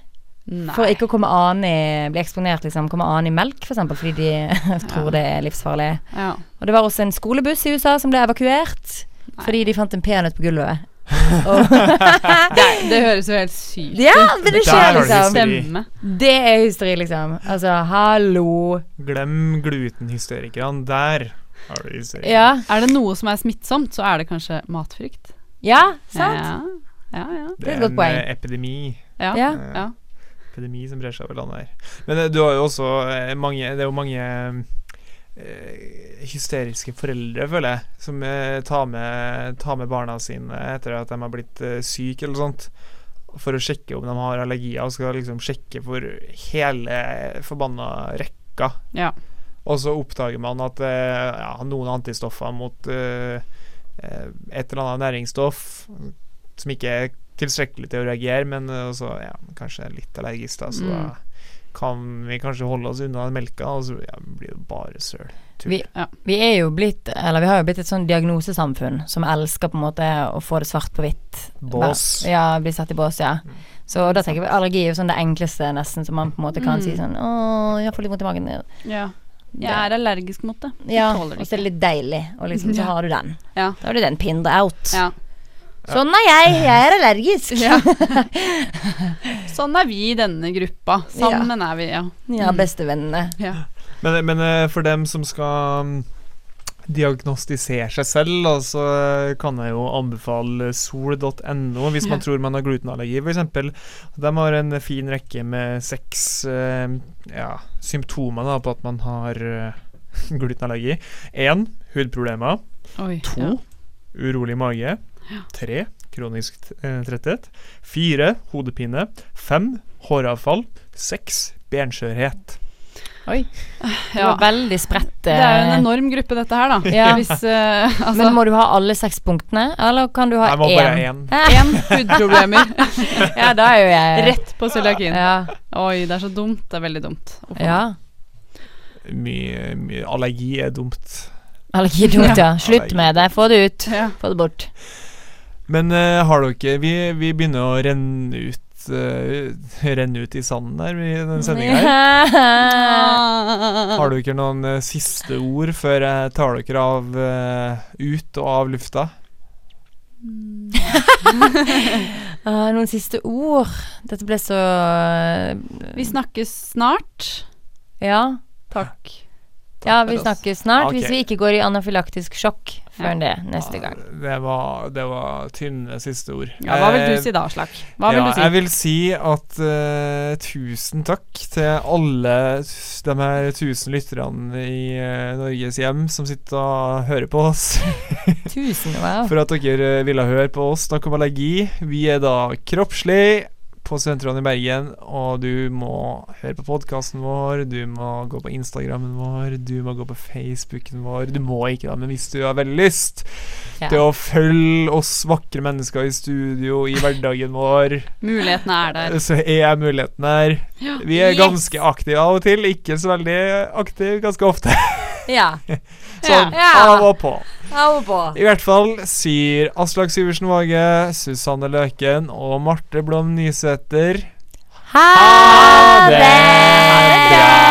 [SPEAKER 3] Nei.
[SPEAKER 4] for ikke å komme an i, bli eksponert, liksom. Komme an i melk, f.eks., for fordi de tror det er livsfarlig.
[SPEAKER 3] Ja.
[SPEAKER 4] Og det var også en skolebuss i USA som ble evakuert
[SPEAKER 3] Nei.
[SPEAKER 4] fordi de fant en peanøtt på gulvet. Og,
[SPEAKER 3] Det høres jo helt sykt ut.
[SPEAKER 4] ja, men det
[SPEAKER 1] Der
[SPEAKER 4] skjer,
[SPEAKER 1] har du
[SPEAKER 4] liksom.
[SPEAKER 1] hysteri.
[SPEAKER 3] Stemme.
[SPEAKER 4] Det er hysteri, liksom. Altså, hallo.
[SPEAKER 1] Glem glutenhysterikerne. Der har du hysteri.
[SPEAKER 4] Ja.
[SPEAKER 3] Er det noe som er smittsomt, så er det kanskje matfrykt.
[SPEAKER 4] Ja, sant?
[SPEAKER 3] Ja, ja, ja.
[SPEAKER 1] Det
[SPEAKER 4] er et
[SPEAKER 1] er
[SPEAKER 4] godt
[SPEAKER 1] en
[SPEAKER 4] poeng.
[SPEAKER 1] eh, epidemi.
[SPEAKER 3] ja.
[SPEAKER 4] Ja.
[SPEAKER 1] Eh,
[SPEAKER 3] Ja.
[SPEAKER 1] Epidemi som brer seg over landet her. Men eh, du har jo også eh, mange Det er jo mange eh, hysteriske foreldre, føler jeg, som eh, tar, med, tar med barna sine etter at de har blitt eh, syke eller sånt, for å sjekke om de har allergier, og skal liksom sjekke for hele forbanna rekka.
[SPEAKER 3] Ja.
[SPEAKER 1] Og så oppdager man at eh, ja, noen antistoffer mot eh, eh, et eller annet næringsstoff som ikke er tilstrekkelig til å reagere, men eh, også, ja, kanskje er litt allergisk, da, så
[SPEAKER 3] Mm.
[SPEAKER 1] da kan vi kanskje holde oss unna den melka, og så ja, blir det bare søl. Tull.
[SPEAKER 4] Vi, vi er jo blitt, eller vi har jo blitt et sånn diagnosesamfunn som elsker på en måte å få det svart på hvitt.
[SPEAKER 1] Bås.
[SPEAKER 4] Ja, bli satt i bås, ja.
[SPEAKER 1] Mm.
[SPEAKER 4] Så da tenker vi allergi er jo sånn det enkleste nesten, som man på en måte kan
[SPEAKER 3] Mm.
[SPEAKER 4] si sånn Å, jeg får litt vondt i magen.
[SPEAKER 3] ja. Jeg er allergisk mot det.
[SPEAKER 4] Ja,
[SPEAKER 3] tåler
[SPEAKER 4] og
[SPEAKER 3] det
[SPEAKER 4] så er det litt deilig, og liksom så
[SPEAKER 3] Ja.
[SPEAKER 4] har du den.
[SPEAKER 3] Ja.
[SPEAKER 4] Da har du den pinned out.
[SPEAKER 3] Ja.
[SPEAKER 4] Sånn er jeg, jeg er allergisk.
[SPEAKER 3] Ja. Sånn er vi i denne gruppa. Sammen er vi, ja.
[SPEAKER 4] Ja, bestevennene.
[SPEAKER 1] Men, men eh, for dem som skal mm, diagnostisere seg selv, da, så eh, kan jeg jo anbefale sol.no hvis man
[SPEAKER 3] Ja.
[SPEAKER 1] tror man har glutenallergi, f.eks. De har en fin rekke med seks eh, ja, symptomer da, på at man har eh, glutenallergi. Én hudproblemer.
[SPEAKER 3] Oi,
[SPEAKER 1] To
[SPEAKER 3] ja.
[SPEAKER 1] urolig mage. Tre kronisk eh, tretthet. Fire hodepine. Fem håravfall. Seks benskjørhet.
[SPEAKER 4] Det
[SPEAKER 3] Ja.
[SPEAKER 4] var veldig spredt.
[SPEAKER 3] Det
[SPEAKER 4] eh,
[SPEAKER 3] er jo en enorm gruppe, dette her, da.
[SPEAKER 4] Ja.
[SPEAKER 3] Hvis, eh, altså,
[SPEAKER 4] Men må du ha alle seks punktene, eller kan du ha
[SPEAKER 1] Jeg må bare
[SPEAKER 4] én?
[SPEAKER 1] én.
[SPEAKER 3] én hudproblemer
[SPEAKER 4] Ja, da er jo jeg
[SPEAKER 3] rett på cøliakin.
[SPEAKER 4] Ja.
[SPEAKER 3] Oi, det er så dumt. Det er veldig dumt. Uff.
[SPEAKER 4] ja.
[SPEAKER 1] mye, mye Allergi er dumt.
[SPEAKER 4] Allergi er dumt, ja. Slutt
[SPEAKER 1] Allergi.
[SPEAKER 4] med det. Få det ut.
[SPEAKER 3] Ja.
[SPEAKER 4] Få det bort.
[SPEAKER 1] Men eh, har dere Vi, vi begynner å renne ut eh, Renne ut i sanden her i den sendinga her. Har dere noen eh, siste ord før jeg tar dere av eh, ut og av lufta?
[SPEAKER 4] Ah, noen siste ord. Dette ble så eh,
[SPEAKER 3] Vi snakkes snart.
[SPEAKER 4] Ja.
[SPEAKER 3] Takk.
[SPEAKER 4] Ja, vi
[SPEAKER 1] oss.
[SPEAKER 4] snakkes snart.
[SPEAKER 1] Ok.
[SPEAKER 4] Hvis vi ikke går i anafylaktisk sjokk før det neste gang.
[SPEAKER 1] Det var, det var tynne siste ord.
[SPEAKER 3] Ja, hva vil
[SPEAKER 1] Eh,
[SPEAKER 3] du si da, Slak? Hva vil
[SPEAKER 1] ja,
[SPEAKER 3] du si?
[SPEAKER 1] Jeg vil si at eh, tusen takk til alle s- de her tusen lytterne i eh, Norges hjem som sitter og hører på oss.
[SPEAKER 4] Tusen wow.
[SPEAKER 1] for at dere eh, ville høre på oss snakke om allergi. Vi er da kroppslig på Sentralen i Bergen, og du må høre på podkasten vår, du må gå på Instagrammen vår, du må gå på Facebooken vår. Du må ikke, da, men hvis du har veldig lyst
[SPEAKER 4] Ja.
[SPEAKER 1] til å følge oss vakre mennesker i studio i hverdagen vår,
[SPEAKER 3] Mulighetene er der.
[SPEAKER 1] så er muligheten her. Vi er
[SPEAKER 3] Yes.
[SPEAKER 1] ganske aktive av og til, ikke så veldig aktive ganske ofte.
[SPEAKER 4] Ja.
[SPEAKER 1] Sånn
[SPEAKER 4] Ja.
[SPEAKER 1] av og på.
[SPEAKER 4] Au på.
[SPEAKER 1] I hvert fall sier Aslak Syversen Våge, Susanne Løken og Marte Blom Nysæter
[SPEAKER 4] Ha det!
[SPEAKER 1] Ha det bra!